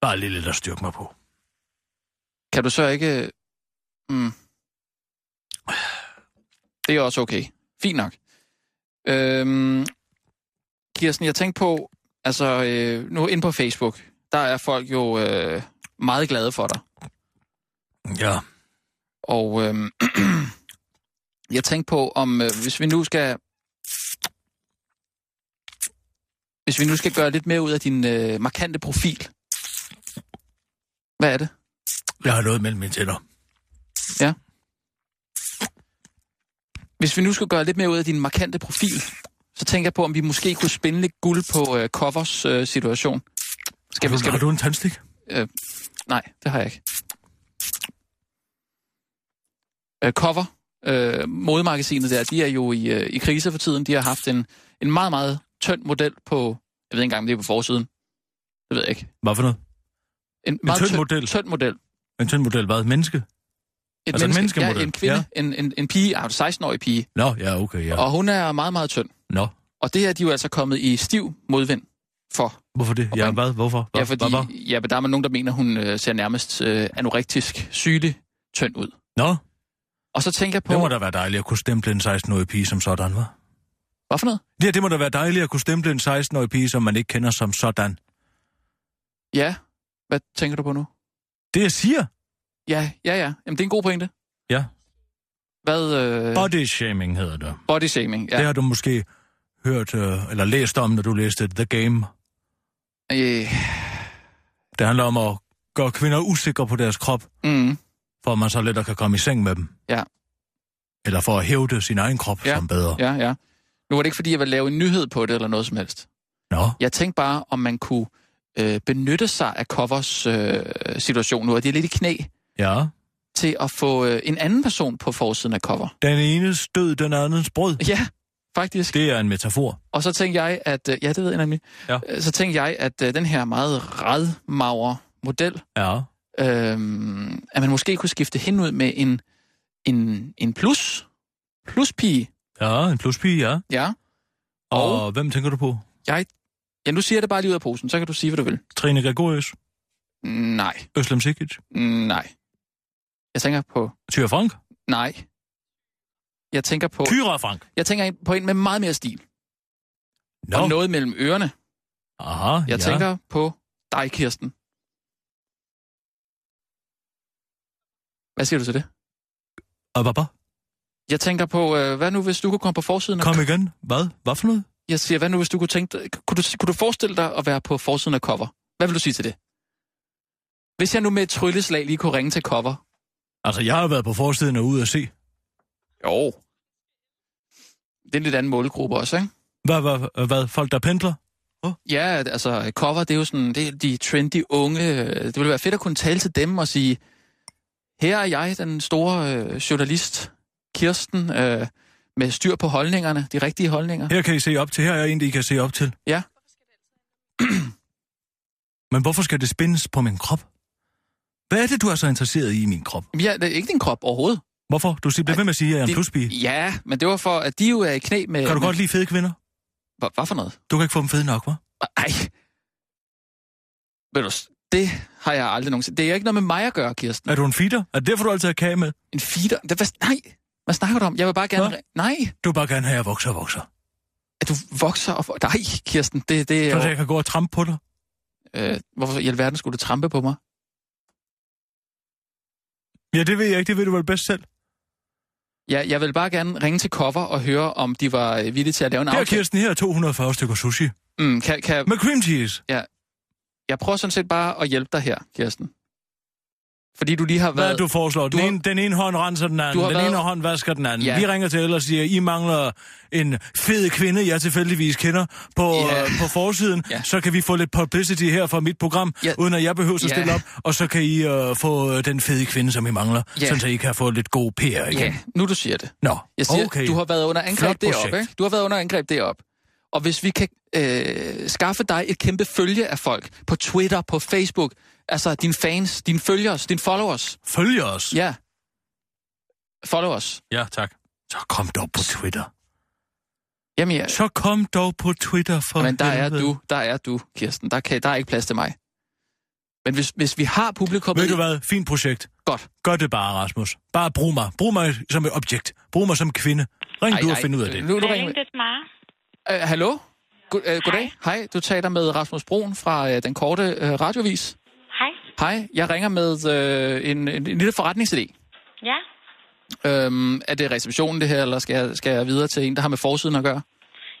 Bare lige lidt at styrke mig på.
Kan du så ikke... Mm. Det er også okay. Fint nok. Øhm, Kirsten, jeg tænkte på... Altså, øh, nu ind på Facebook, der er folk jo øh, meget glade for dig.
Ja,
Og øhm, jeg tænkte på, om øh, hvis vi nu skal... Hvis vi nu skal gøre lidt mere ud af din øh, markante profil. Hvad er det?
jeg har noget mellem mine tænder.
Hvis vi nu skulle gøre lidt mere ud af din markante profil, så tænker jeg på, om vi måske kunne spinde lidt guld på øh, covers øh, situation. Skal vi, skal
Har
du?
du en tandstik?
Øh, nej, det har jeg ikke. Øh, cover, øh, modemagasinet der, de er jo i, øh, i krise for tiden. De har haft en, en meget, meget tynd model på, jeg ved ikke engang, om det er på forsiden. Det ved jeg ikke.
Hvad for noget?
En,
tynd model?
Tynd model. Et
En tynd model, hvad? Et menneske? Altså en
ja,
menneskemodel,
en kvinde, ja. en, en, en pige, ah, 16-årig pige,
Nå, ja, okay, ja.
ja. og hun er meget, meget tynd.
Nå,
Og det her, de er jo altså kommet i stiv modvind. for.
Hvorfor det? Ja,
bringe-
hvad? Hvorfor? Hvad?
Ja, fordi
Hvad? Hvad?
ja, men der er man nogen, der mener, hun øh, ser nærmest øh, anorektisk sygelig tynd ud.
Nå,
Og så tænker jeg på...
det må da være dejligt at kunne stemple en 16-årig pige som sådan, var.
Hvad for noget?
Ja, det må da være dejligt at kunne stemple en 16-årig pige, som man ikke kender som sådan.
Ja. Hvad tænker du på nu?
Det jeg siger,
Ja, ja, ja. Jamen, det er en god pointe.
Ja.
Hvad? Øh,
body shaming hedder det.
body shaming.
Ja. Det
Ja.
har du måske hørt øh, eller læst om, når du læste The Game.
Øh,
Det handler om at gøre kvinder usikre på deres krop,
mm,
for at man så lettere kan komme i seng med dem.
Ja.
Eller for at hævde sin egen krop
Ja.
som bedre.
ja, ja. Nu var det ikke, fordi jeg ville lave en nyhed på det eller noget som helst.
Nå,
Jeg tænkte bare, om man kunne øh, benytte sig af covers øh, situation nu, og de er lidt i knæ,
ja.
til at få øh, en anden person på forsiden af cover.
Den ene stød den andens brød.
Ja, faktisk.
Det er en metafor.
Og så tænkte jeg, at... Øh, ja, det ved jeg nemlig.
Ja.
Øh, Så tænkte jeg, at øh, den her meget radmagre model,
Ja.
øh, at man måske kunne skifte hende ud med en, en, en plus, pluspige.
Ja, en pluspige, ja.
Ja.
Og,
Og-
og hvem tænker du på?
Jeg, ja, nu siger jeg det bare lige ud af posen, så kan du sige, hvad du vil.
Trine Gregorius,
Nej,
Øslem Sikic,
nej. Jeg tænker på...
Tyre Frank,
Nej. Jeg tænker på...
Kyra Frank.
Jeg tænker på en med meget mere stil.
Nå,
Og noget mellem ørerne.
aha,
Jeg
ja.
tænker på dig, Kirsten. Hvad siger du til det?
Og hvad, hvad?
Jeg tænker på, øh, hvad nu hvis du kunne komme på forsiden? af-
Kom igen. Hvad? Hvad for noget?
Jeg siger, hvad nu hvis du kunne tænke dig- kunne du, kunne du forestille dig at være på forsiden af cover? Hvad vil du sige til det? Hvis jeg nu med et trylleslag lige kunne ringe til cover.
Altså, jeg har været på forsiden og ude at se.
Jo. Det er en lidt anden målgruppe også, ikke?
Hvad, hvad, hvad? Folk, der pendler?
Ja, altså cover, det er jo sådan, det er de trendy unge. øh, Det ville være fedt at kunne tale til dem og sige, her er jeg, den store øh, journalist, Kirsten, øh, med styr på holdningerne, de rigtige holdninger.
Her kan I se op til. Her er en, I kan se op til.
Ja.
Men hvorfor skal det spindes på min krop? Hvad er det, du er så interesseret i i min krop?
Jamen, Ja, det er ikke din krop overhovedet.
Hvorfor? Du siger, bliver ved med at sige, at jeg er en
Det-
pluspige.
Ja, men det var for, at de jo er i knæ med...
Kan du godt lide fede kvinder?
Hvad, hvad for noget?
Du kan ikke få dem fede nok, hva'?
Ej. Ved du, s- det har jeg aldrig nogensinde... Det er ikke noget med mig at gøre, Kirsten.
Er du en feeder? Er det derfor, du altid har kage med?
En feeder... Det, hvad, nej, hvad snakker du om? Jeg vil bare gerne...
Nå.
re- Nej,
Du vil bare gerne have, at jeg vokser og vokser.
at du vokser og... vo- Nej, Kirsten, det, det
Så
er
jeg kan gå og trampe på dig.
jo... Øh, hvorfor i alverden skulle du trampe på mig?
Ja, det ved jeg ikke. Det ved du vel bedst selv.
Ja, jeg vil bare gerne ringe til cover og høre, om de var øh, villige til at lave en
Her,
aftale.
Kirsten, her er 240 stykker sushi.
Mm, kan, kan,
Med cream cheese.
jeg prøver sådan set bare at hjælpe dig her, Kirsten. Fordi du lige har
Hvad
været...
er det, du foreslår?
Du
den,
har-
ene, den ene hånd renser den
Du
anden,
har
den
været-
ene hånd vasker den anden.
Ja.
Ja. Vi ringer til Ella og siger, I mangler en fed kvinde, jeg tilfældigvis kender, på,
Ja.
ja. øh, på forsiden.
Ja.
Ja. Så kan vi få lidt publicity her fra mit program,
Ja.
ja. uden at jeg behøver at
Ja.
stille op. Og så kan I øh, få øh, den fede kvinde, som I mangler,
Ja.
ja. sådan, så I kan få lidt god PR igen.
Ja, nu du siger det.
Nå,
Jeg siger, okay.
okay.
du har været under angreb
Flot
derop,
projekt.
ikke? Du har været under angreb derop. Og hvis vi kan øh, skaffe dig et kæmpe følge af folk på Twitter, på Facebook, altså dine fans, dine følgers, dine followers.
Følger os. Ja.
Ja. Followers.
ja, tak. Så kom dog på Twitter.
Jamen ja.
Så kom dog på Twitter for
Men der er
helvede.
du, der er du, Kirsten. Der, kan, der er ikke plads til mig. Men hvis, hvis vi har publikum...
Ved du hvad? Fint projekt.
Godt.
Gør det bare, Rasmus. Bare brug mig. Brug mig som et objekt. Brug mig som kvinde. Ring
Ej,
du og
ej,
find ud af det.
Nu, nu
Det er
ringer vi.
ikke det smart.
Øh, hallo? God, øh, goddag. Hej, du taler med Rasmus Broen fra øh, Den Korte øh, Radiovis.
Hej.
Hej, jeg ringer med øh, en, en, en lille forretningsidé.
Ja.
Øhm, er det receptionen det her, eller skal jeg, skal jeg videre til en, der har med forsiden at gøre?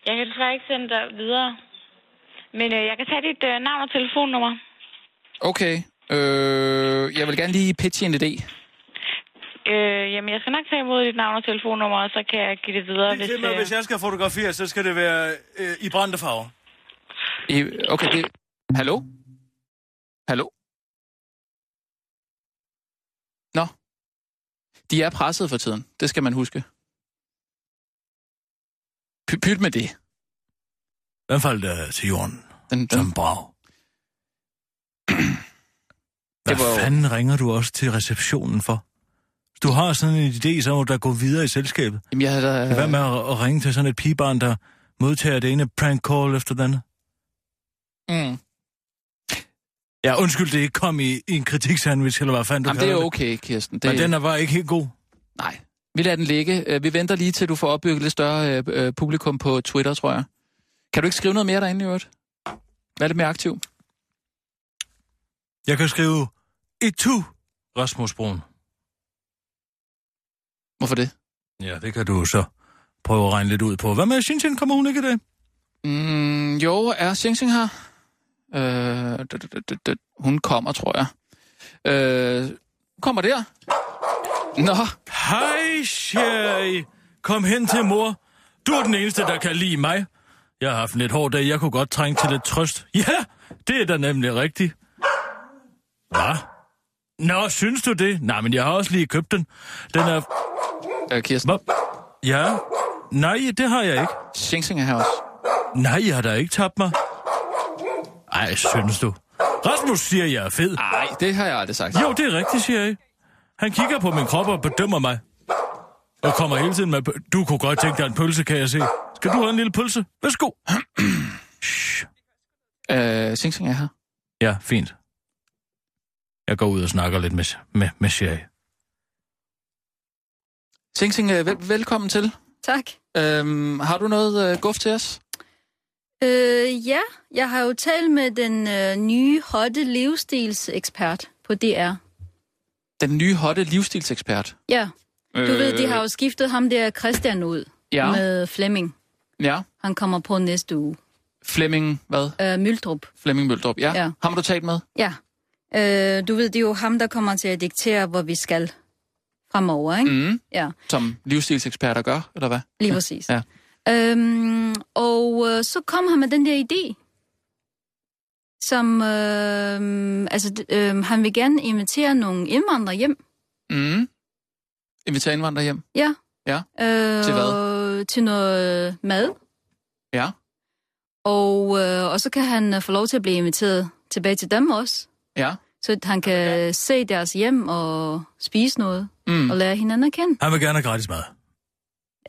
Jeg kan desværre ikke sende dig videre. Men øh, jeg kan tage dit øh, navn og telefonnummer.
Okay, øh, jeg vil gerne lige pitche en idé.
Øh, jamen, jeg skal nok tage imod dit navn og telefonnummer, og så kan jeg give det videre, hvis, øh,
jeg skal fotografere, så skal det være øh, i brændte farver.
I- Okay, det... Hallo? Hallo? Nå. De er presset for tiden, det skal man huske. Py- Pyt med det.
Den faldt øh, til jorden
Den,
som
den,
brag. Hvad
Det var jo-
fanden ringer du også til receptionen for? Hvis du har sådan en idé, så må der gå videre i selskabet.
jamen, jeg havde da...
Øh. Hvad med at, at ringe til sådan et pigebarn, der modtager det ene prank call efter den?
Mm.
Ja, undskyld, det ikke kom i, i en kritiksandwich, eller hvad fanden du
Jamen, det er
kalder
okay, Kirsten. Det,
Men den er bare ikke helt god.
Nej, vi lader den ligge. Øh, Vi venter lige til, du får opbygget lidt større øh, øh, publikum på Twitter, tror jeg. Kan du ikke skrive noget mere derinde i øvrigt? Vær lidt mere aktiv.
Jeg kan skrive et tu, Rasmus Brun.
Hvorfor det?
Ja, det kan du så prøve at regne lidt ud på. Hvad med Shinshin? Kommer hun ikke i dag?
Mm, jo, er Xing Xing her? Øh, d- d- d- d- hun kommer, tror jeg. Øh, kommer der? Nå,
Hej, Sherry. Kom hen til mor. Du er den eneste, der kan lide mig. Jeg har haft en lidt hård dag. Jeg kunne godt trænge til lidt trøst. Ja, det er da nemlig rigtigt. Hvad? Nå, synes du det? Nej, men jeg har også lige købt den. Den er...
øh, Kirsten.
Hvad? Ja? Nej, det har jeg ikke.
Xing Xing er her også.
Nej, jeg har da ikke tabt mig. Ej, synes du. Rasmus siger, jeg er fed.
Nej, det har jeg aldrig sagt.
Jo, det er rigtigt, siger jeg. Han kigger på min krop og bedømmer mig. Og kommer hele tiden med... pø- Du kunne godt tænke dig en pølse, kan jeg se. Skal du have en lille pølse? Værsgo. Shh.
Øh, Xing Xing er her.
ja, fint. Jeg går ud og snakker lidt med, med, med Sherry.
Xing Xing, øh, vel- velkommen til.
Tak.
Øhm, har du noget øh, guf til os?
Øh, ja, jeg har jo talt med den øh, nye hotte livsstilsekspert på DR.
Den nye hotte livsstilsekspert.
Ja, du øh... ved, de har jo skiftet ham der Christian ud
Ja,
med Flemming.
ja.
Han kommer på næste uge.
Flemming, hvad?
Øh, Møldrup.
Flemming Møldrup, ja.
Ja.
ja. Ham har du talt med?
Ja. Øh, du ved, det er jo ham, der kommer til at diktere, hvor vi skal fremover, ikke? Mm.
Mm.
Ja,
Som livsstilseksperter gør, eller hvad?
lige præcis.
Ja.
Øhm, og øh, så kom han med den der idé, som, øh, altså, d- øh, han vil gerne invitere nogle indvandrere hjem.
Mm. Inviterer indvandrere hjem?
Ja.
Ja.
Øh,
Til
Til noget øh, mad.
Ja.
Og, øh, og så kan han øh, få lov til at blive inviteret tilbage til dem også.
Ja.
Så at han kan okay. se deres hjem og spise noget
Mm.
og lære hinanden at kende.
Han vil gerne have gratis mad.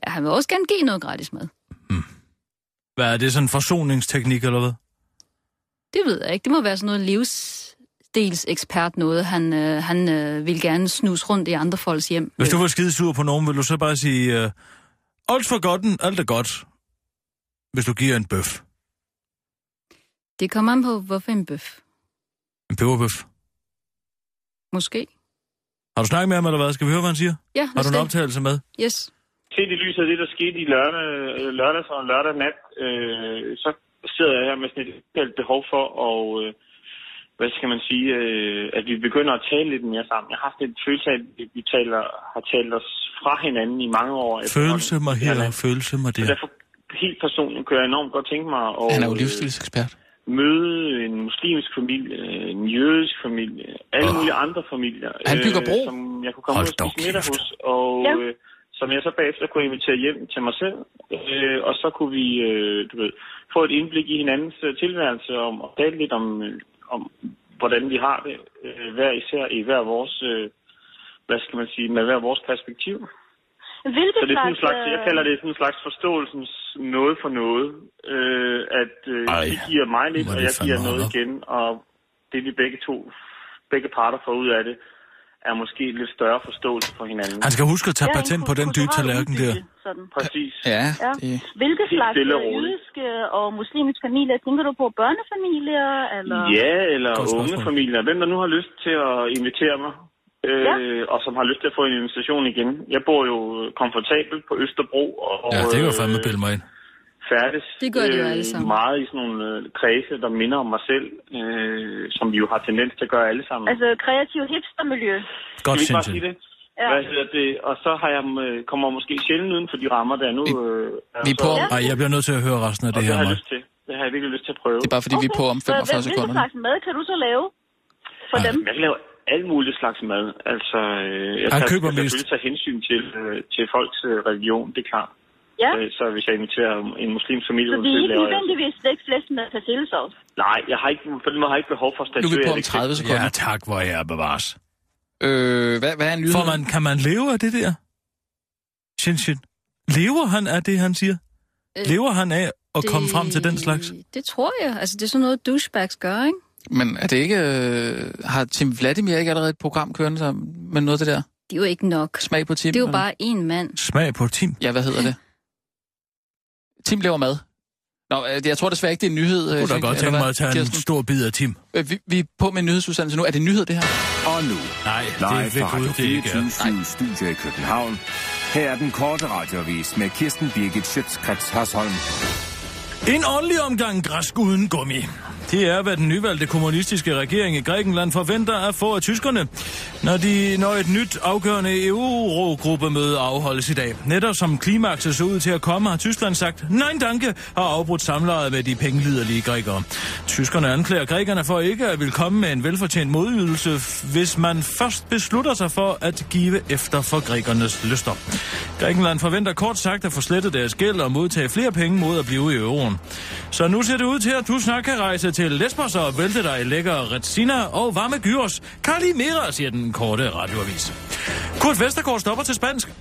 Ja, han vil også gerne give noget gratis mad.
Hvad er det, sådan en forsoningsteknik eller hvad?
Det ved jeg ikke. Det må være sådan noget livsstilsekspert noget. Han, øh, han øh, vil gerne snuse rundt i andre folks hjem.
Hvis du var skidesur på nogen, vil du så bare sige... Øh, alt for godt, alt er godt. Hvis du giver en bøf.
Det kommer an på, hvorfor en bøf.
En peberbøf.
Måske.
Har du snakket med ham, eller hvad? Skal vi høre, hvad han siger?
Ja,
Har
hvis
du en
det-
optagelse med?
Yes.
set i lyset af det, der skete i lørdag, øh, lørdags og en lørdag nat, øh, så sidder jeg her med sådan et helt behov for at, øh, hvad skal man sige, øh, at vi begynder at tale lidt mere sammen. Jeg har haft en følelse af, at vi taler, har talt os fra hinanden i mange år.
Følelse mig her, følelse mig
Så
der.
derfor helt personligt kunne jeg enormt godt tænke mig at
Han er jo livsstilsekspert.
øh, møde en muslimsk familie, øh, en jødisk familie, alle
Åh.
oh. mulige andre familier. øh,
Han bygger bro.
som jeg kunne komme
Hold
ud og
dog
spise middag
kæft.
hos, og
Ja.
øh, som jeg så bagefter kunne invitere hjem til mig selv. Øh, og så kunne vi øh, du ved, få et indblik i hinandens øh, tilværelse om, og tale lidt om, øh, om, hvordan vi har det øh, hver især i hver vores, øh, hvad skal man sige, med hver vores perspektiv.
Hvilket
Så det er sådan en slags, jeg
øh,
kalder det sådan en slags forståelsens noget for noget, øh, at øh,
Ej,
det giver mig lidt,
hvor er
og
det
jeg giver
fandme
noget
meget.
igen, og det vi begge to, begge parter får ud af det, er måske en lidt større forståelse for hinanden.
Han skal huske at tage
ja, en
patent på den dybe
kulturel
tallerken der.
udbytte, Sådan.
Præcis.
Ja,
Ja.
det...
Hvilke
Helt
slags
stille og
øh,
roligt.
jødiske og muslimske familier? Tænker du på børnefamilier? Eller?
Ja, eller
Godt spørgsmål.
unge familier. Hvem der nu har lyst til at invitere mig, øh,
Ja.
og som har lyst til at få en invitation igen. Jeg bor jo komfortabelt på Østerbro. Og,
Ja, det kan
øh,
jo fandme bilde mig ind.
færdes
Det gør de jo alle sammen.
meget i sådan nogle øh, kredse, der minder om mig selv, øh, som vi jo har tendens til at gøre alle sammen.
Altså kreativ hipstermiljø.
Godt
Skal vi ikke bare
sindssygt.
sige det?
Ja.
Ja. Hvad hedder det? Og så har jeg, øh, kommer jeg måske sjældent uden for de rammer, der nu
Vi-
øh, er
vi er på
så-
om,
Ej, jeg bliver nødt til at høre resten af
og
det
det
her,
har jeg
mig.
lyst til. Det har jeg virkelig lyst til at prøve.
det er bare fordi, vi er på om
Så hvad-
45
Hvilken
sekunder.
slags mad kan du så lave for
Ej.
dem?
Jeg kan lave alt muligt slags mad. Altså, øh, jeg
Han
tager-
køber
jeg skal
mest.
selvfølgelig tage hensyn til, øh, til folks øh, religion, det er klart.
Ja.
Øh, Så hvis jeg inviterer en muslims familie,
Så
ud
vi er
til,
ikke
laver jeg...
nødvendigvis slet ikke flest med persillesovs.
Nej, jeg har ikke, på den måde har jeg ikke behov for at
Nu er vi
statuere
på
et
om
eksempel.
30
Ja,
sekunder.
tak, hvor jeg er bevares.
Øh, hvad, hvad er en nyhed?
For man, kan man leve af det der? Shin Shin. Lever han af det, han siger? Lever han af at komme frem til den slags?
Det tror jeg. Altså, det er sådan noget, douchebags gør, ikke?
Men er det ikke... Øh, har Tim Vladimir ikke allerede et program kørende der, med noget af det der?
Det er jo ikke nok.
Smag på Tim?
Det er jo
eller-
bare én mand.
Smag på Tim.
Ja, hvad hedder det? Tim laver mad. Nå, øh, jeg tror desværre ikke, det er en nyhed. øh,
Jeg kunne da godt tænke mig at tage en stor bid af Tim.
Vi, vi er på med en nyhedsudsendelse nu. Er det en nyhed, det her?
Og nu,
Nej,
live
det
fra
vil Gud,
Radio
det ikke er.
24 Studio i København. Her er den korte radiovis med Kirsten Birgit Schøtzgrads Hasholm.
En åndelig omgang græsk uden gummi. Det er, hvad den nyvalgte kommunistiske regering i Grækenland forventer at få af tyskerne, når, de, når et nyt afgørende eurogruppemøde afholdes i dag. Netop som klimakset så ud til at komme, har Tyskland sagt nej danke og afbrudt samlejet med de pengeliderlige grækere. Tyskerne anklager grækerne for ikke at vil komme med en velfortjent modydelse, hvis man først beslutter sig for at give efter for grækernes lyster. Grækenland forventer kort sagt at få slettet deres gæld og modtage flere penge mod at blive i euroen. Så nu ser det ud til, at du snart kan rejse til Lesbos og vælte dig i lækker retsina og varme gyros. Kalimera, siger den korte radioavis. Kurt Vestergaard stopper til spansk.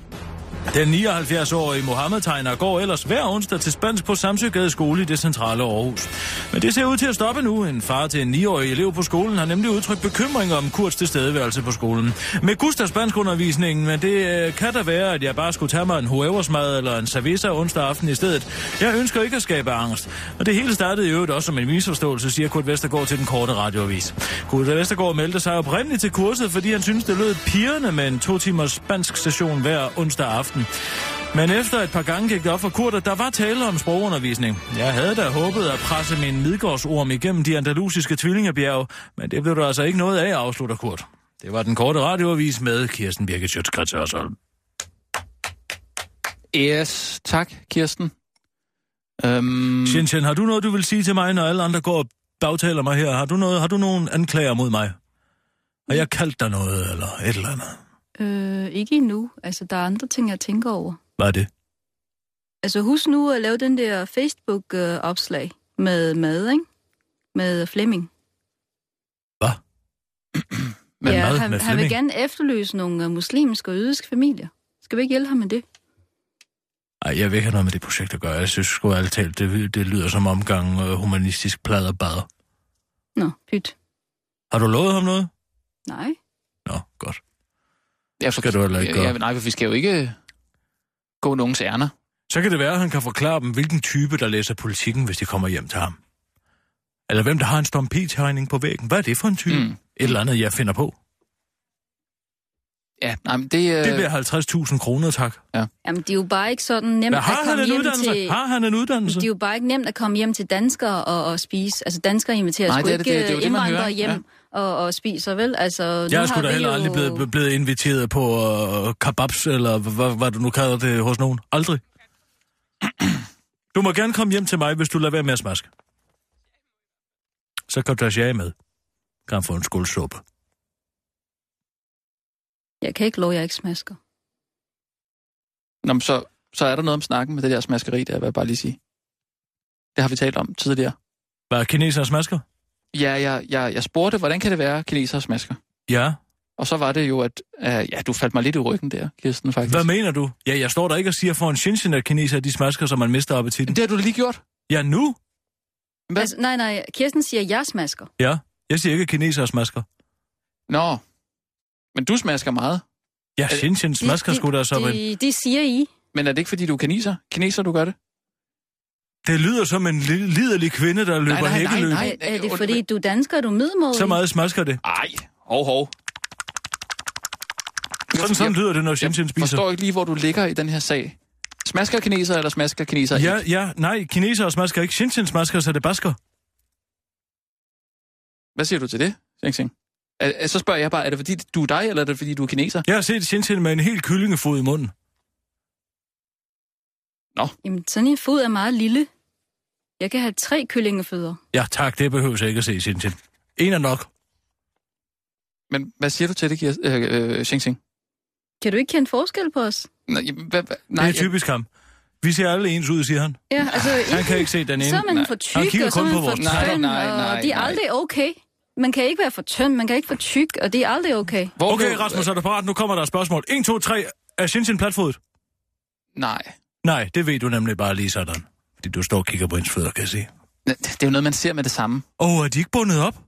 Den 79-årige Mohammed tegner går ellers hver onsdag til spansk på Samsøgade skole i det centrale Aarhus. Men det ser ud til at stoppe nu. En far til en 9-årig elev på skolen har nemlig udtrykt bekymring om Kurts tilstedeværelse på skolen. Med guster spanskundervisningen, men det øh, kan da være, at jeg bare skulle tage mig en hueversmad eller en cerveza onsdag aften i stedet. Jeg ønsker ikke at skabe angst. Og det hele startede i øvrigt også som en misforståelse, siger Kurt Vestergaard til den korte radioavis. Kurt Vestergaard meldte sig oprindeligt til kurset, fordi han syntes, det lød pirrende med en to timers spansk session hver onsdag aften. Men efter et par gange gik det op for Kurt, at der var tale om sprogundervisning. Jeg havde da håbet at presse min midgårdsorm igennem de andalusiske tvillingebjerge, men det blev der altså ikke noget af, afslutter Kurt. Det var den korte radioavis med Kirsten Birgit Sjøtskrets Hørsholm.
Yes, tak, Kirsten. Øhm,
Shin Shin, har du noget, du vil sige til mig, når alle andre går og bagtaler mig her? Har du, noget, har du nogen anklager mod mig? Har jeg kaldt dig noget, eller et eller andet?
Øh, ikke endnu. Altså, der er andre ting, jeg tænker over.
Hvad er det?
Altså, husk nu at lave den der Facebook-opslag med mad, ikke? Med Flemming.
Hvad?
Med
ja,
mad
han,
med
han vil
Flemming?
gerne efterløse nogle øh, muslimske og jødiske familier. Skal vi ikke hjælpe ham med det?
Ej, jeg vil ikke have noget med det projekt at gøre. Jeg synes sgu alt talt, det, det lyder som omgang øh, humanistisk pladerbader.
Nå, pyt.
Har du lovet ham noget?
Nej.
Nå, godt.
ja, for-
skal du heller ikke gøre.
Ja, nej, for vi skal jo ikke gå nogens ærner.
Så kan det være, at han kan forklare dem, hvilken type, der læser politikken, hvis de kommer hjem til ham. Eller hvem, der har en Storm P-tegning på væggen. Hvad er det for en type? Mm.
Mm.
Et eller andet, jeg finder på.
Ja, nej, men det... Øh,
Det bliver 50.000 kroner, tak.
Jamen, det er jo bare ikke sådan nemt
Men
at
har han
komme
en
hjem
uddannelse?
til...
Har han en uddannelse?
Det er jo bare ikke nemt at komme hjem til danskere og, og spise. Altså, danskere inviterer
Nej,
sgu
det er det-
ikke
det er jo
øh,
det, man
indvandrere
hører,
hjem og, og spiser, vel? Altså,
Jeg er
nu
sgu
har
da
vi
heller
jo...
aldrig blevet, blevet inviteret på uh, kebabs, eller hvad, hvad du nu kalder det hos nogen. Aldrig. Du må gerne komme hjem til mig, hvis du lader være med at smaske. Så kan du tage med. Kan få en skuldsuppe.
Jeg kan ikke love, at jeg ikke smasker.
Nå, men så, så er der noget om snakken med det der smaskeri, der vil jeg bare lige sige. Det har vi talt om tidligere.
Hvad, kinesere smasker?
Ja, jeg, jeg, jeg spurgte, hvordan kan det være, kinesere smasker?
Ja.
Og så var det jo, at øh, ja, du faldt mig lidt i ryggen der, Kirsten, faktisk.
Hvad mener du? Ja, jeg står der ikke og siger for en shinshin, at kinesere de smasker, så man mister appetitten.
Det har du da lige gjort.
Ja, nu?
Hvad?
Altså, nej, nej, Kirsten siger, at jeg smasker.
Ja. Jeg siger ikke, at kinesere smasker.
Nå, men du smasker meget.
Ja,
Øh,
shinshin smasker sgu da som en...
de, de siger I. Øh,
Men er det ikke, fordi du er kineser? Kineser, du gør det?
Det lyder som en li- liderlig kvinde, der løber
nej,
hækkeløb.
nej.
Er, er det
und-
fordi, du er dansker, og du er middelmålig?
Så meget smasker det.
Ej, hov, hov.
Sådan, sådan
jeg,
lyder det, når Shenzhen
jeg
spiser.
forstår ikke lige, hvor du ligger i den her sag. Smasker kineser, eller smasker kineser
Ja,
ikke?
ja, nej, kinesere smasker ikke. Shenzhen smasker, så det basker.
Hvad siger du til det, Xing Xing? Er- er- Så spørger jeg bare, er det fordi du er dig, eller er det fordi du er kineser?
Jeg har set Shenzhen med en helt kyllingefod i munden.
Jamen, sådan en fod er meget lille. Jeg kan have tre kyllingefødder.
Ja, tak, det behøver jeg ikke at se Shenzhen. En er nok.
Men hvad siger du til det, Kirs, øh, øh, Xing Xing?
Kan du ikke kende forskel på os?
Nej, jamen, hvad, hvad,
Nej,
nej,
det er typisk ham. Vi ser alle ens ud, siger han.
Ja, altså,
Han kan ikke se den ene.
så er man
Nej.
for
Han
tyk,
kigger
og så er
kun
man
på
for
vores
Nej,
tynd,
nej, nej,
og det er
nej.
aldrig okay. Man kan ikke være for tynd, man kan ikke være for tyk, og det er aldrig okay.
Hvor
Okay,
blev-
Rasmus, er du parat? Nu kommer der et spørgsmål. 1, 2, 3. Er Shenzhen platfodet?
Øh, Nej.
Nej, det ved du nemlig bare lige sådan. Du står og kigger på hendes fødder, kan jeg se.
Det er jo noget, man ser med det samme.
Åh, oh, er de ikke bundet op?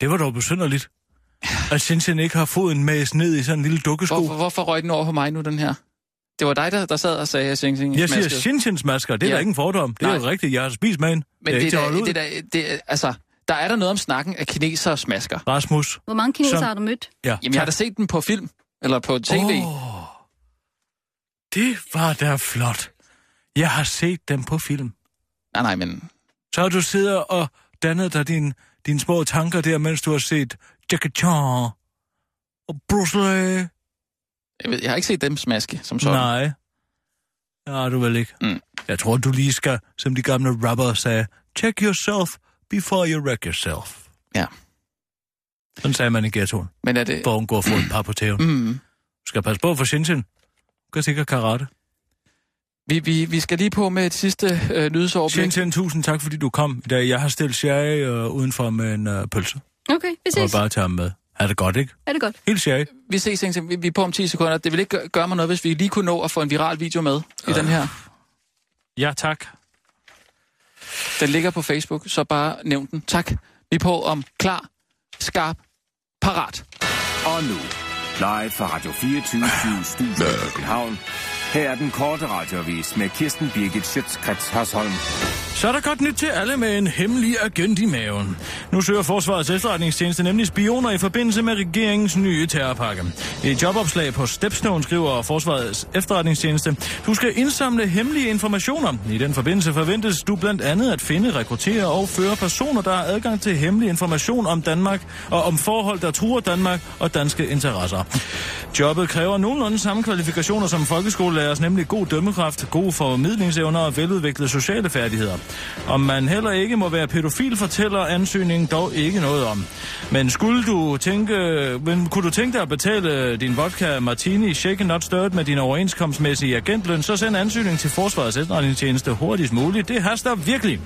Det var dog besynderligt. At Shenzhen ikke har foden med ned i sådan en lille dukkesko.
Hvorfor, hvorfor røg den over på mig nu, den her? Det var dig, der, der sad og sagde, at Xing Xing
Jeg siger
smaskede.
Shenzhens masker, det er ja.
Ja.
da ikke en fordom. Det er
Nej.
jo rigtigt, jeg har spist med hende.
Men
er
det,
ikke til at
er
holde
da,
ud.
det, er da, det, er- altså, der er der noget om snakken af kinesere og smasker.
Rasmus,
Hvor mange kinesere
Så-
har du mødt?
ja.
Jamen, jeg har da
tak.
set den på film, eller på tv. Oh.
Åh, det var da flot. Jeg har set dem på film.
Nej, nej, men...
Så har du sidder og dannet dig dine din små tanker der, mens du har set Jackie Chan og Bruce Lee.
Jeg, ved, jeg har ikke set dem smaske, som sådan.
Nej. Det har du vel ikke.
Mm.
Jeg tror, du lige skal, som de gamle rapper sagde, check yourself before you wreck yourself.
Ja.
Sådan sagde man i ghettoen,
Men er det...
for at undgå at få et par på tæven. Du
Mm,
skal passe på for Shenzhen. Du kan sikkert karate.
vi, vi, vi skal lige på med et sidste øh, nyhedsoverblik.
Shenzhen, tusind tak, fordi du kom i dag. Jeg har stillet Sherry øh, udenfor med en øh, pølse.
Okay, vi
Og
ses.
bare tage ham med. Er det godt, ikke?
Er det godt?
Helt Sherry.
Vi ses, Xing Xing. Vi, vi er på om 10 sekunder. Det vil ikke gøre, gøre mig noget, hvis vi lige kunne nå at få en viral video med i den her.
Ja, tak.
Den ligger på Facebook, så bare nævn den. Tak. Vi er på om klar, skarp, parat.
Og nu, live fra Radio 24 Studio i København. Her er den korte radiovis med Kirsten Birgit Schøtzgrads Hasholm.
Så er der godt nyt til alle med en hemmelig agent i maven. Nu søger Forsvarets efterretningstjeneste nemlig spioner i forbindelse med regeringens nye terrorpakke. I et jobopslag på Stepstone skriver Forsvarets efterretningstjeneste, du skal indsamle hemmelige informationer. I den forbindelse forventes du blandt andet at finde, rekruttere og føre personer, der har adgang til hemmelig information om Danmark og om forhold, der truer Danmark og danske interesser. Jobbet kræver nogenlunde samme kvalifikationer som folkeskolelærers, nemlig god dømmekraft, gode formidlingsevner og veludviklede sociale færdigheder. Om man heller ikke må være pædofil, fortæller ansøgningen dog ikke noget om. Men skulle du tænke, men kunne du tænke dig at betale din vodka martini shake not stirred med din overenskomstmæssige agentløn, så send ansøgningen til Forsvarets efterretningstjeneste hurtigst muligt. Det haster virkelig.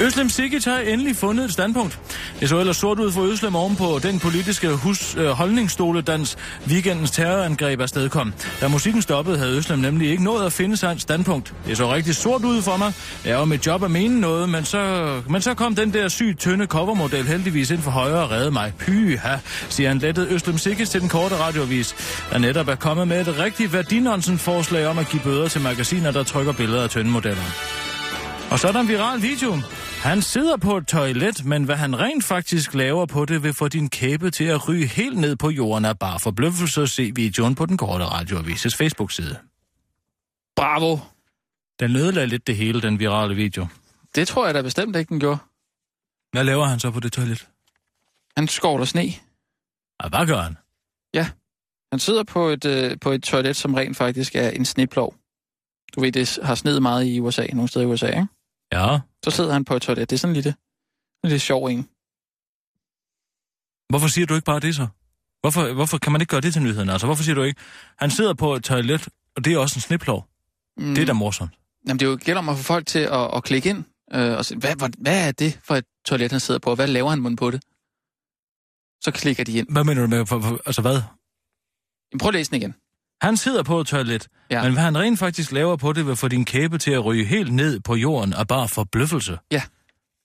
Øslem Sikic har endelig fundet et standpunkt. Det så ellers sort ud for Øslem ovenpå den politiske hus, øh, holdningsstoledans weekendens terrorangreb afstedkom. Da musikken stoppede, havde Øslem nemlig ikke nået at finde sig et standpunkt. Det så rigtig sort ud for mig. Det er jo mit job at mene noget, men så, men så kom den der sygt tynde covermodel heldigvis ind for højre og redde mig. Pyha, siger han lettet Øslem Sikic til den korte radiovis, der netop er kommet med et rigtig værdinonsen-forslag om at give bøder til magasiner, der trykker billeder af tynde modeller. Og så er der en viral video. Han sidder på et toilet, men hvad han rent faktisk laver på det, vil få din kæbe til at ryge helt ned på jorden af bare forbløffelse og se videoen på den korte radioavises Facebook-side.
Bravo.
Den ødelagde lidt det hele, den virale video.
Det tror jeg da bestemt ikke, den gjorde.
Hvad laver han så på det toilet?
Han skovler sne.
Ah, hvad gør han?
Han sidder på et, øh, på et toilet, som rent faktisk er en sneplov. Du ved, det har sneet meget i USA, nogle steder i USA, ikke?
Ja,
Så sidder han på et toilet. Det er sådan lidt, lidt sjov en.
hvorfor siger du ikke bare det så? Hvorfor, hvorfor kan man ikke gøre det til nyhederne? Altså, hvorfor siger du ikke? Han sidder på et toilet, og det er også en sniplov. Mm.
Mm.
Det er da morsomt.
Jamen, det er jo gælder om at få folk til at, at klikke ind øh, og se, hvad, hvad, hvad er det for et toilet, han sidder på, og hvad laver han mund på det? Så klikker de ind.
Hvad mener du med, for, for, altså hvad?
Jamen, prøv at læse den igen.
Han sidder på et toilet, ja.
Ja.
men hvad han rent faktisk laver på det, vil få din kæbe til at ryge helt ned på jorden af bare forbløffelse.
Ja.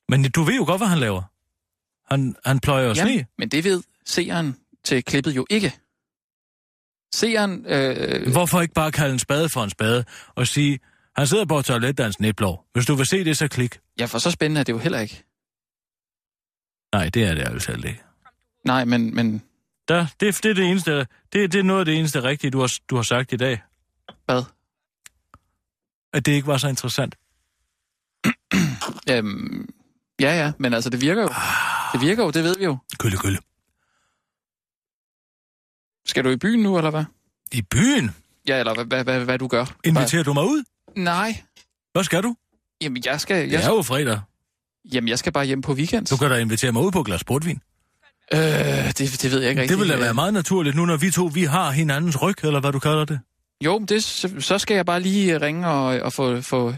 Men du ved jo godt, hvad han laver. Han, han pløjer jo sne.
Jamen, men det ved seeren til klippet jo ikke. Seeren... Øh,
Hvorfor ikke bare kalde en spade for en spade og sige, han sidder på et toilet, der er en sneblov. Hvis du vil se det, så klik.
ja, for så spændende er det jo heller ikke.
Nej, det er det altså ikke.
Nej, men... men
Der, det, det, er det, eneste, det, det er noget af det eneste rigtige, du har, du har sagt i dag.
hvad?
At det ikke var så interessant.
Øhm, ja, ja, men altså, det virker jo. Det virker jo, det ved vi jo.
Kølle, kølle.
Skal du i byen nu, eller hvad?
I byen
Ja, eller hvad, hvad, hvad, hvad du gør?
inviterer du mig ud.
Bare- Nej.
Hvad skal du?
Jamen, jeg skal,
Det
jeg,
er jo fredag.
jamen, jeg skal bare hjem på weekend.
Du kan da invitere mig ud på et glas portvin.
Øh, det, det ved jeg ikke rigtigt. øh,
Det ville da være meget naturligt nu, når vi to vi har hinandens ryg, eller hvad du kalder det.
Jo, men det, så så skal jeg bare lige øh, ringe og, og få, få,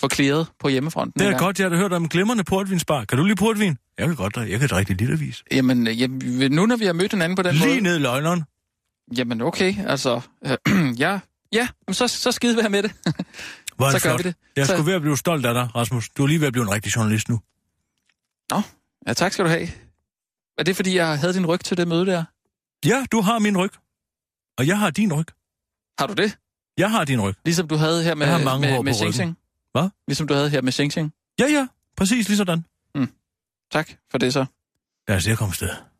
få klæret på hjemmefronten.
Det
en
er
gang.
godt, jeg har da hørt om en glimrende portvinsbar. Kan du lide portvin? Jeg kan godt da. Jeg kan drikke det litervis.
Jamen, øh, jamen, nu når vi har mødt hinanden på den
Lige
måde...
ned i løgneren.
Jamen, okay, altså... Øh, ja, ja men så, så skide være med det.
Hvor er
så
det
gør
flot.
vi det.
Jeg
Så-
skulle ved at blive stolt af dig, Rasmus. Du er lige ved at blive en rigtig journalist nu.
Nå, ja, tak skal du have. Er det, fordi jeg havde din ryg til det møde der?
Ja, du har min ryg. Og jeg har din ryg.
Har du det?
Jeg har din ryg.
Ligesom du havde her med,
Jeg har mange hår
med,
på
med
ryggen.
Sing Sing?
Hvad?
Ligesom du havde her med Sing Sing?
Ja, ja. Præcis lige sådan.
Tak for det så.
Lad os se at komme afsted.